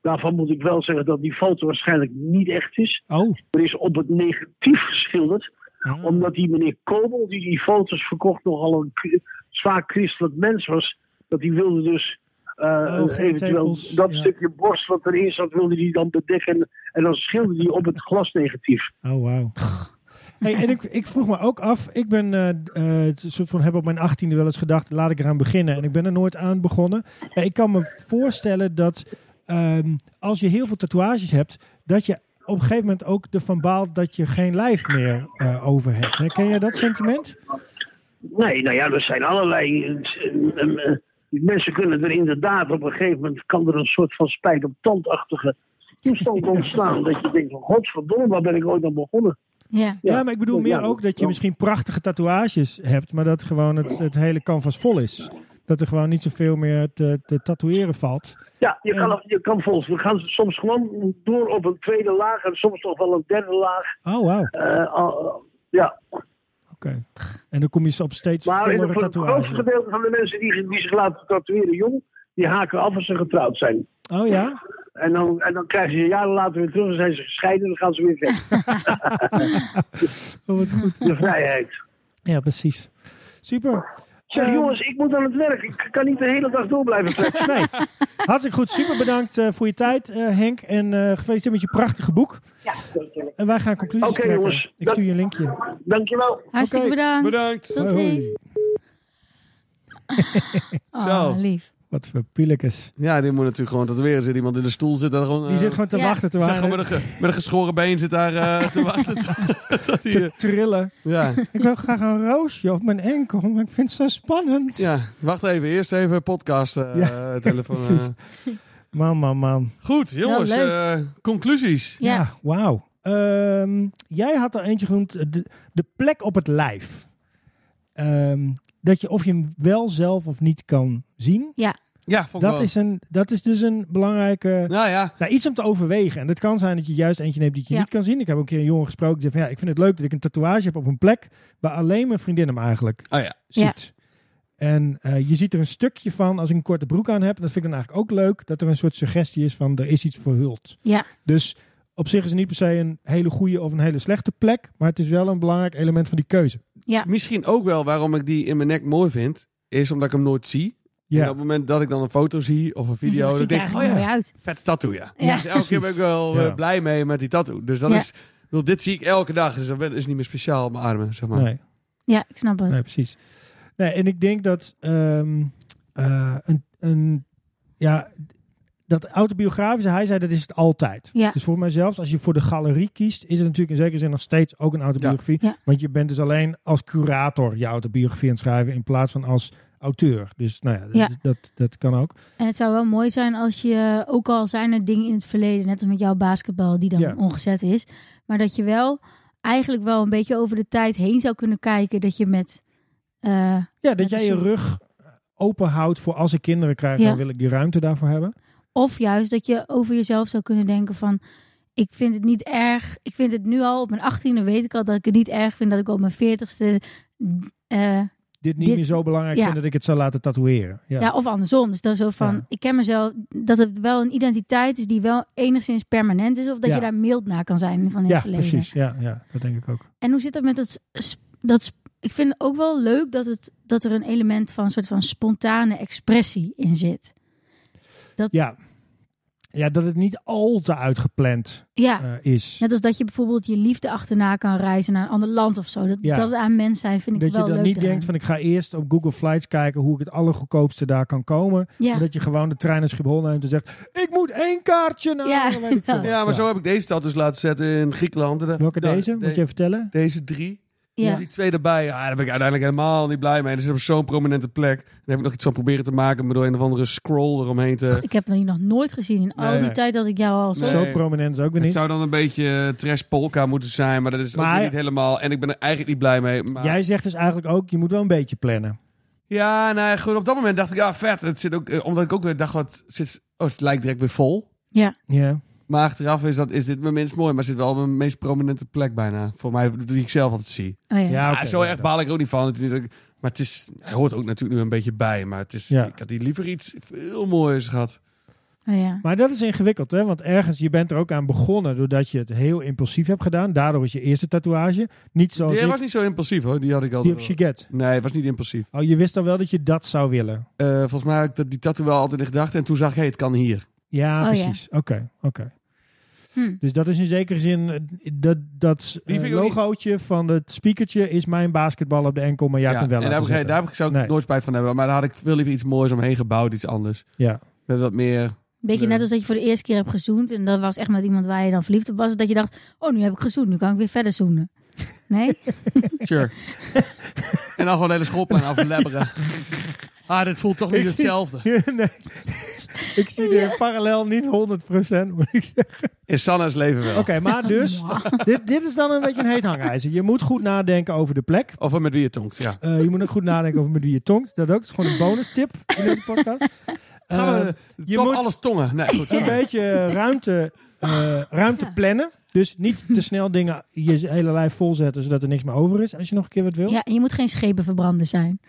B: Daarvan moet ik wel zeggen dat die foto waarschijnlijk niet echt is.
A: Oh.
B: Er is op het negatief geschilderd
A: Ah.
B: omdat die meneer Kobel, die die foto's verkocht, nogal een k- zwaar christelijk mens was. Dat die wilde dus eh,
A: Oh, geen
B: eventueel
A: tepels,
B: dat
A: ja.
B: stukje borst wat erin zat, wilde die dan bedekken. En dan schilderde die op het glasnegatief.
A: Oh, wauw. Hey, en ik, ik vroeg me ook af, ik ben eh, eh, het soort van heb op mijn achttiende wel eens gedacht, laat ik eraan beginnen. En ik ben er nooit aan begonnen. Eh, ik kan me voorstellen dat ehm, als je heel veel tatoeages hebt, dat je op een gegeven moment ook ervan baalt dat je geen lijf meer eh, over hebt. Hè? Ken jij dat sentiment?
B: Nee, nou ja, er zijn allerlei. eh, eh, eh, mensen kunnen er inderdaad op een gegeven moment. kan er een soort van spijt op tandachtige toestand ontstaan. Dat je denkt: van, godverdomme, waar ben ik ooit aan begonnen?
C: Ja.
A: Ja, maar ik bedoel
B: Ja,
A: meer
B: ja,
A: ook dat je
B: ja.
A: misschien prachtige tatoeages hebt, maar dat gewoon het, het hele canvas vol is. Dat er gewoon niet zoveel meer te, te tatoeëren valt.
B: Ja, je kan,
A: En-
B: af- je kan volgens. We gaan soms gewoon door op een tweede laag en soms nog wel een derde laag.
A: Oh, wauw. Oké.
B: Eh, al- ja,
A: En dan kom je op steeds
B: maar in
A: vollere
B: het, voor het grootste
A: tatoeages.
B: gedeelte van de mensen die, die zich laten tatoeëren jong, die haken af als ze getrouwd zijn.
A: Oh ja?
B: En dan, en dan krijgen ze jaren later weer terug en zijn ze gescheiden en dan gaan ze weer weg.
A: Oh, wat goed.
B: De vrijheid.
A: Ja, precies. Super.
B: Zeg
A: Eh,
B: jongens, ik moet aan het werk. Ik kan niet de hele dag door blijven trekken.
A: Nee. Hartstikke goed. Super bedankt eh, voor je tijd, eh, Henk. En eh, gefeliciteerd met je prachtige boek. En wij gaan conclusies
B: Oké,
A: trekken.
B: jongens.
A: Ik stuur je een linkje.
B: Dankjewel.
C: Hartstikke
A: Oké.
C: bedankt.
D: Bedankt.
C: Tot
A: Hoi, hoi.
C: ziens. Oh,
D: Zo.
C: lief.
A: Wat voor pielekes.
D: Ja, dit moet natuurlijk gewoon tatoeëren. Zit iemand in de stoel, zit daar gewoon... eh,
A: Die zit gewoon te
C: Ja.
A: wachten, te,
D: Zeg gewoon
A: wachten,
D: met een, ge- met een geschoren been zit daar eh, te wachten. tot- tot hij, eh,
A: te trillen.
D: ja,
A: Ik wil graag een roosje op mijn enkel, maar ik vind het zo spannend.
D: ja, wacht even. Eerst even podcast, eh,
A: Ja,
D: telefoon. eh.
A: precies. Man, man, man.
D: Goed, jongens.
C: leuk.
D: eh, conclusies.
A: Ja,
C: Ja.
A: wauw. Ehm, jij had er eentje genoemd, eh, de, de plek op het lijf. Ehm, dat je of je hem wel zelf of niet kan zien.
D: Ja, vond ik
A: Dat
D: wel.
A: is, een, dat is dus een belangrijke...
D: Nou ja,
A: Nou, iets om te overwegen. En het kan zijn dat je juist eentje neemt die ik je
C: Ja.
A: niet kan zien. Ik heb ook een keer een jongen gesproken die zei van... Ja, ik vind het leuk dat ik een tatoeage heb op een plek... waar alleen mijn vriendin hem eigenlijk
D: oh ja.
A: ziet. En eh, je ziet er een stukje van als ik een korte broek aan heb. En dat vind ik dan eigenlijk ook leuk. Dat er een soort suggestie is van er is iets verhuld.
C: Ja.
A: Dus op zich is het niet per se een hele goede of een hele slechte plek. Maar het is wel een belangrijk element van die keuze.
D: Misschien ook wel waarom ik die in mijn nek mooi vind, is omdat ik hem nooit zie. En op
A: Ja,
D: het moment dat ik dan een foto zie of een video,
C: Dat
D: dan
C: ziet er
D: denk ik, oh
C: eigenlijk mooi
D: ja,
C: uit.
D: vet tattoo, ja.
C: Ja.
D: Dus elke keer ben ik wel
A: Ja.
D: eh, blij mee met die tattoo. Dus dat
C: Ja.
D: is, ik bedoel, dit zie ik elke dag, dus dat is niet meer speciaal op mijn armen, zeg maar.
A: nee,
C: Ja, ik snap het.
A: nee, precies. Nee, en ik denk dat ehm, eh, een, een... Ja, dat autobiografische, hij zei dat is het altijd.
C: Ja.
A: Dus voor mij zelfs, als je voor de galerie kiest, is het natuurlijk in zekere zin nog steeds ook een autobiografie.
C: Ja. Ja.
A: Want je bent dus alleen als curator je autobiografie aan het schrijven in plaats van als auteur. Dus nou ja,
C: Ja.
A: Dat, dat, dat kan ook.
C: En het zou wel mooi zijn als je, ook al zijn er dingen in het verleden, net als met jouw basketbal die dan
A: Ja.
C: ongezet is, maar dat je wel eigenlijk wel een beetje over de tijd heen zou kunnen kijken dat je met, eh,
A: Ja, dat
C: Ja,
A: jij je
C: dus-
A: rug open houdt voor als ik kinderen krijg,
C: Ja.
A: dan wil ik die ruimte daarvoor hebben.
C: of juist dat je over jezelf zou kunnen denken van, ik vind het niet erg, ik vind het nu al, op mijn achttiende weet ik al dat ik het niet erg vind dat ik op mijn veertigste, eh
A: Dit niet
C: Dit-
A: meer zo belangrijk
C: ja.
A: vind dat ik het zou laten tatoeëren. Ja.
C: ja, of andersom, dus dan zo van,
A: Ja.
C: ik ken mezelf, dat het wel een identiteit is die wel enigszins permanent is, of dat
A: Ja.
C: je daar mild naar kan zijn van in
A: Ja,
C: het verleden.
A: precies. Ja, ja, dat denk ik ook.
C: En hoe zit dat met dat, s- dat... s- Ik vind ook wel leuk dat, het, dat er een element van een soort van spontane expressie in zit. Dat, ja.
A: Ja. Ja, dat het niet al te uitgepland eh, is.
C: Net als dat je bijvoorbeeld je liefde achterna kan reizen naar een ander land of zo. Dat,
A: Ja.
C: dat het aan mens zijn vind ik
A: dat
C: wel
A: je
C: leuk.
A: dan niet
C: eraan.
A: denkt van ik ga eerst op Google Flights kijken hoe ik het allergoedkoopste daar kan komen.
C: Ja,
A: Maar dat je gewoon de trein naar Schiphol neemt en zegt ik moet één kaartje naar.
C: Ja,
A: weet ik veel wat.
D: Ja, maar zo heb ik deze tattoo dus laten zetten in Griekenland. En dan-
A: Welke
D: nou,
A: deze?
D: de-
A: Moet je even vertellen?
D: Deze drie.
C: ja.
D: Die twee erbij. Ja, daar ben ik uiteindelijk helemaal niet blij mee. Dus op zo'n prominente plek. Dan heb ik nog iets van proberen te maken. Maar door een of andere scroll eromheen te...
C: Ik heb die nog nooit gezien in al
D: Nee.
C: die tijd dat ik jou al zo...
D: Nee.
A: Zo prominent is ook weer
D: Het
A: niet.
D: zou dan een beetje eh, trash polka moeten zijn. Maar dat is ook
A: Maar-
D: weer niet helemaal. En ik ben er eigenlijk niet blij mee. Maar...
A: Jij zegt dus eigenlijk ook je moet wel een beetje plannen.
D: Ja, nou ja, goed. Op dat moment dacht ik, ja, vet. Het zit ook, eh, omdat ik ook weer dacht, wat, zit, oh, het lijkt direct weer vol.
C: Ja,
A: Ja.
D: Maar achteraf is, dat, is dit mijn minst mooi. Maar het zit wel op mijn meest prominente plek bijna. Voor mij, die ik zelf altijd zie.
C: oh, ja.
A: Ja,
D: Ja,
A: oké,
D: zo
A: ja,
D: erg
A: dat-
D: baal ik er ook niet van. Het is niet dat ik- maar het is, hij hoort ook natuurlijk nu een beetje bij. Maar het is,
A: Ja.
D: ik had die liever iets veel mooiers gehad.
C: Oh, ja.
A: Maar dat is ingewikkeld, hè? Want ergens, je bent er ook aan begonnen doordat je het heel impulsief hebt gedaan. Daardoor is je eerste tatoeage. Niet zoals
D: Die
A: ik,
D: was niet zo impulsief hoor, die had ik al.
A: die op Chiget.
D: Nee, het was niet impulsief.
A: Oh, je wist dan wel dat je dat zou willen.
D: Eh, volgens mij had ik dat- die tattoo wel altijd in gedachten. En toen zag ik, hey, het kan hier.
A: Ja,
C: Oh, ja.
A: precies. Oké, oké.
C: Hm.
A: Dus dat is in zekere zin eh, dat, dat eh,
D: Die vind ik ook
A: logootje van het speakertje is mijn basketbal op de enkel, maar jij
D: Ja,
A: kunt wel
D: en daar
A: laten
D: heb, ik,
A: zitten.
D: daar heb ik, zou ik
A: Nee.
D: nooit spijt van hebben. Maar daar had ik veel liever iets moois omheen gebouwd, iets anders.
A: Ja.
D: Met wat meer...
C: Beetje
D: Nee.
C: net als dat je voor de eerste keer hebt gezoend. En dat was echt met iemand waar je dan verliefd op was. Dat je dacht, oh nu heb ik gezoend, nu kan ik weer verder zoenen. Nee?
D: Sure. en dan gewoon de hele schoolplein aflebberen. Ah, dit voelt toch niet
A: Ik zie-
D: hetzelfde.
A: nee. Ik zie de parallel niet 100%, moet ik zeggen.
G: In Sanne's leven wel.
A: Oké, maar dus, dit, dit is dan een beetje een heet hangijzer. Je moet goed nadenken over de plek.
D: Of met wie je tonkt, ja.
A: Eh, je moet ook goed nadenken over met wie je tongt. Dat ook. Dat is gewoon een bonus tip in deze podcast.
D: Gaan
A: Eh,
D: we
A: je
D: top
A: moet-
D: alles tongen? Nee, goed.
A: een beetje ruimte, eh, ruimte plannen. Dus niet te snel dingen je hele lijf volzetten, zodat er niks meer over is als je nog een keer wat wil.
C: Ja, en je moet geen schepenverbrander zijn.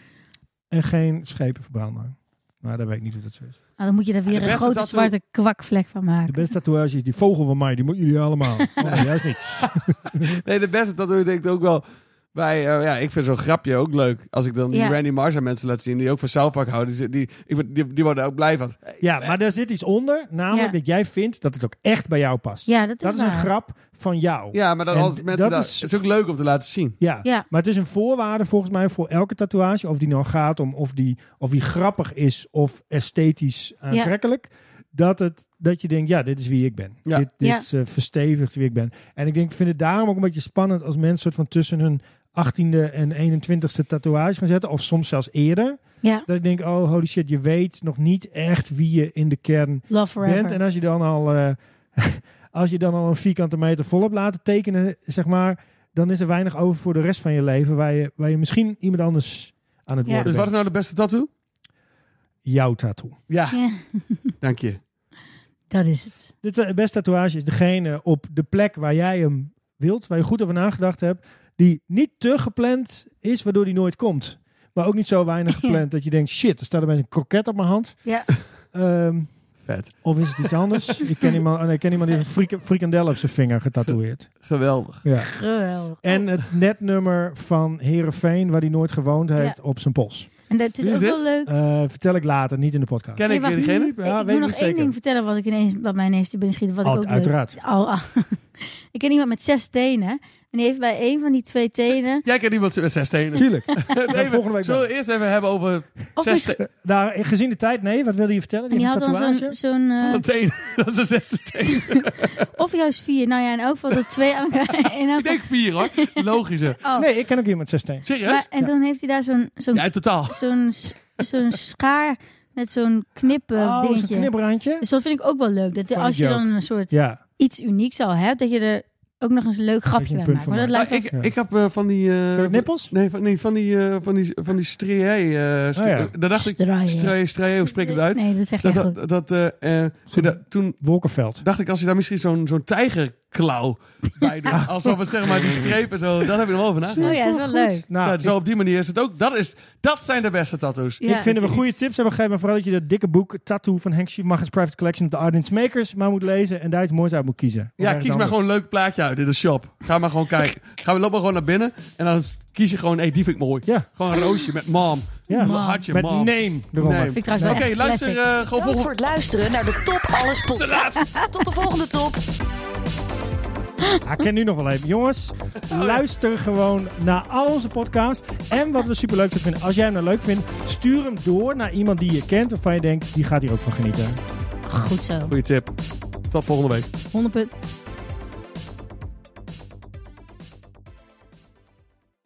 A: En geen schepen verbranden. Maar daar weet ik niet hoe dat zo is.
C: Nou, dan moet je daar weer
D: de
C: een
D: beste
C: grote
D: tattoo-
C: zwarte kwakvlek van
A: De
C: maken.
A: beste tatoeage is die vogel van mij, die moeten jullie allemaal. Oh, nee, juist niet.
D: Nee, de beste tattoo denk ik ook wel bij... eh, ja, ik vind zo'n grapje ook leuk. Als ik dan die
C: Ja.
D: Randy Marsh aan mensen laat zien... die ook van South Park houden. Die, die, ik word- die, die worden ook blij van.
A: Ja, maar daar zit iets onder, namelijk
C: Ja.
A: dat jij vindt dat het ook echt bij jou past.
C: Ja, dat is,
A: Dat is een
C: waar.
A: grap van jou.
D: Ja, maar dan
A: En
D: als mensen...
A: dat
D: Dat
A: is-
D: is... is ook leuk om te laten zien.
A: Ja.
C: Ja.
A: maar het is een voorwaarde volgens mij voor elke tatoeage. Of die nou gaat om of die, of die grappig is of esthetisch aantrekkelijk. Dat, het, dat je denkt, ja, dit is wie ik ben.
D: Ja.
A: Dit, dit
C: Ja.
A: eh, verstevigt wie ik ben. En ik denk, ik vind het daarom ook een beetje spannend als mensen soort van tussen hun 18e en 21ste tatoeage gaan zetten. Of soms zelfs eerder.
C: Ja,
A: Dat ik denk, oh holy shit, je weet nog niet echt wie je in de kern
C: love
A: bent.
C: forever.
A: En als je dan al, eh, als je dan al een vierkante meter volop laat tekenen, zeg maar, dan is er weinig over voor de rest van je leven, waar je, waar je misschien iemand anders aan het
C: Ja.
A: worden
D: Dus wat is
A: bent.
D: nou de beste tattoo?
A: Jouw tattoo.
D: Ja,
C: Ja,
D: dank je.
C: dat is het.
A: De ta- eh, beste tatoeage is degene op de plek waar jij hem wilt, waar je goed over nagedacht hebt, die niet te gepland is, waardoor die nooit komt. Maar ook niet zo weinig gepland dat je denkt, shit, er staat er een kroket op mijn hand.
C: Ja.
A: Ehm,
D: Vet.
A: of is het iets anders? ik, ken iemand, oh nee, ik ken iemand die heeft een frik- frikandel op zijn vinger getatoeëerd.
D: Geweldig.
A: Ja.
C: Geweldig.
A: En het netnummer van Herenveen, waar hij nooit gewoond heeft, op zijn pols.
C: En dat is
D: Wie is
C: ook
D: dit?
C: wel leuk.
A: Eh, vertel ik later, niet in de podcast.
D: Ken
C: Nee,
D: ik weer
C: wacht,
D: diegene?
A: Ja,
C: ik
A: weet
C: moet
A: ik
C: nog
A: niet
C: één
A: zeker.
C: ding vertellen wat, ik ineens, wat mij ineens te binnen schiet. Wat
A: Al-
C: ik ook leuk-
A: uiteraard.
C: Al, al- ik ken iemand met zes tenen. En die heeft bij één van die twee tenen...
D: Jij kent iemand met zes tenen.
A: Tuurlijk.
D: Even-
A: volgende week
D: Zullen we eerst even hebben over
C: Of
D: zes
C: misschien-
D: te-
A: Daar, Nou, gezien de tijd, nee, wat wilde je vertellen?
C: en
A: Die
C: die had
A: heeft een
C: dan
A: tatoeage?
C: zo'n... zo'n eh,
D: van tenen? Dat is een zesde teen.
C: of juist vier. Nou ja, in elk geval dat twee aan elkaar... in elk
D: Ik denk vier hoor. Logische.
C: Oh.
A: Nee, ik ken ook iemand 16.
D: Serieus?
C: Maar, en dan heeft hij daar zo'n zo'n
D: Ja, in totaal.
C: zo'n s- zo'n schaar met zo'n knippen
A: Oh, zo'n
C: eh, dingetje.
A: knipperhandje?
C: Dus dat vind ik ook wel leuk. Dat
A: Vond
C: als
A: ik
C: je
A: ook.
C: dan een soort
A: Ja.
C: iets unieks al hebt, dat je er ook nog eens een leuk grapje
A: een
C: bij
A: punt
C: maakt.
A: van
C: Maar dat
D: Ah,
C: lijkt
D: ik,
A: Ja.
D: ik heb eh, van die... eh,
A: Voor de nippels?
D: Nee, van, nee, van die, eh van die, van die strié. eh st-
A: Oh ja.
D: eh, Daar dacht ik...
C: Strié.
D: Strié, strié, hoe spreek Ah, ik het uit?
C: Nee, dat zeg je
D: Dat,
C: goed.
D: dat, dat, eh, eh, da- toen
A: Wolkenveld.
D: dacht ik, als je daar misschien zo'n zo'n tijgerklauw bij doet. Alsof het zeg maar die strepen zo... Daar heb ik nog over nagedacht.
C: Oh ja, dat is wel leuk.
A: Nou,
D: Nou,
A: ik-
D: zo op die manier is het ook... Dat, is, dat zijn de beste tattoos.
C: Ja.
A: ik vind dat we goede tips hebben gegeven. Maar vooral dat je dat dikke boek Tattoo van Henk Schiefmacher's Private Collection... op de Arden's Makers maar moet lezen en daar iets moois uit moet kiezen. Of
D: Ja,
A: ergens
D: kies maar
A: anders.
D: gewoon een leuk plaatje uit in de shop. Ga maar gewoon kijken. Ga, loop maar gewoon naar binnen. En dan kies je gewoon, hey, die vind ik mooi.
A: Ja.
D: Gewoon een roosje met mom.
A: Ja.
D: Een hartje,
A: Met
D: mom.
A: name eronder.
D: Nee.
C: Vind ik trouwens
D: Oké,
C: wel echt
D: luister
C: classic.
D: eh, gewoon
E: Bedankt voor
D: volgende...
E: het luisteren naar de Top Alles Podcast. Tot de volgende top.
A: Ah, Ik ken nu nog wel even. Jongens, luister gewoon naar al onze podcasts. En wat we super leuk vinden, als jij hem nou leuk vindt, stuur hem door naar iemand die je kent waarvan je denkt, die gaat hier ook van genieten.
C: Goed zo.
D: Goeie tip. Tot volgende week.
C: 100 punt.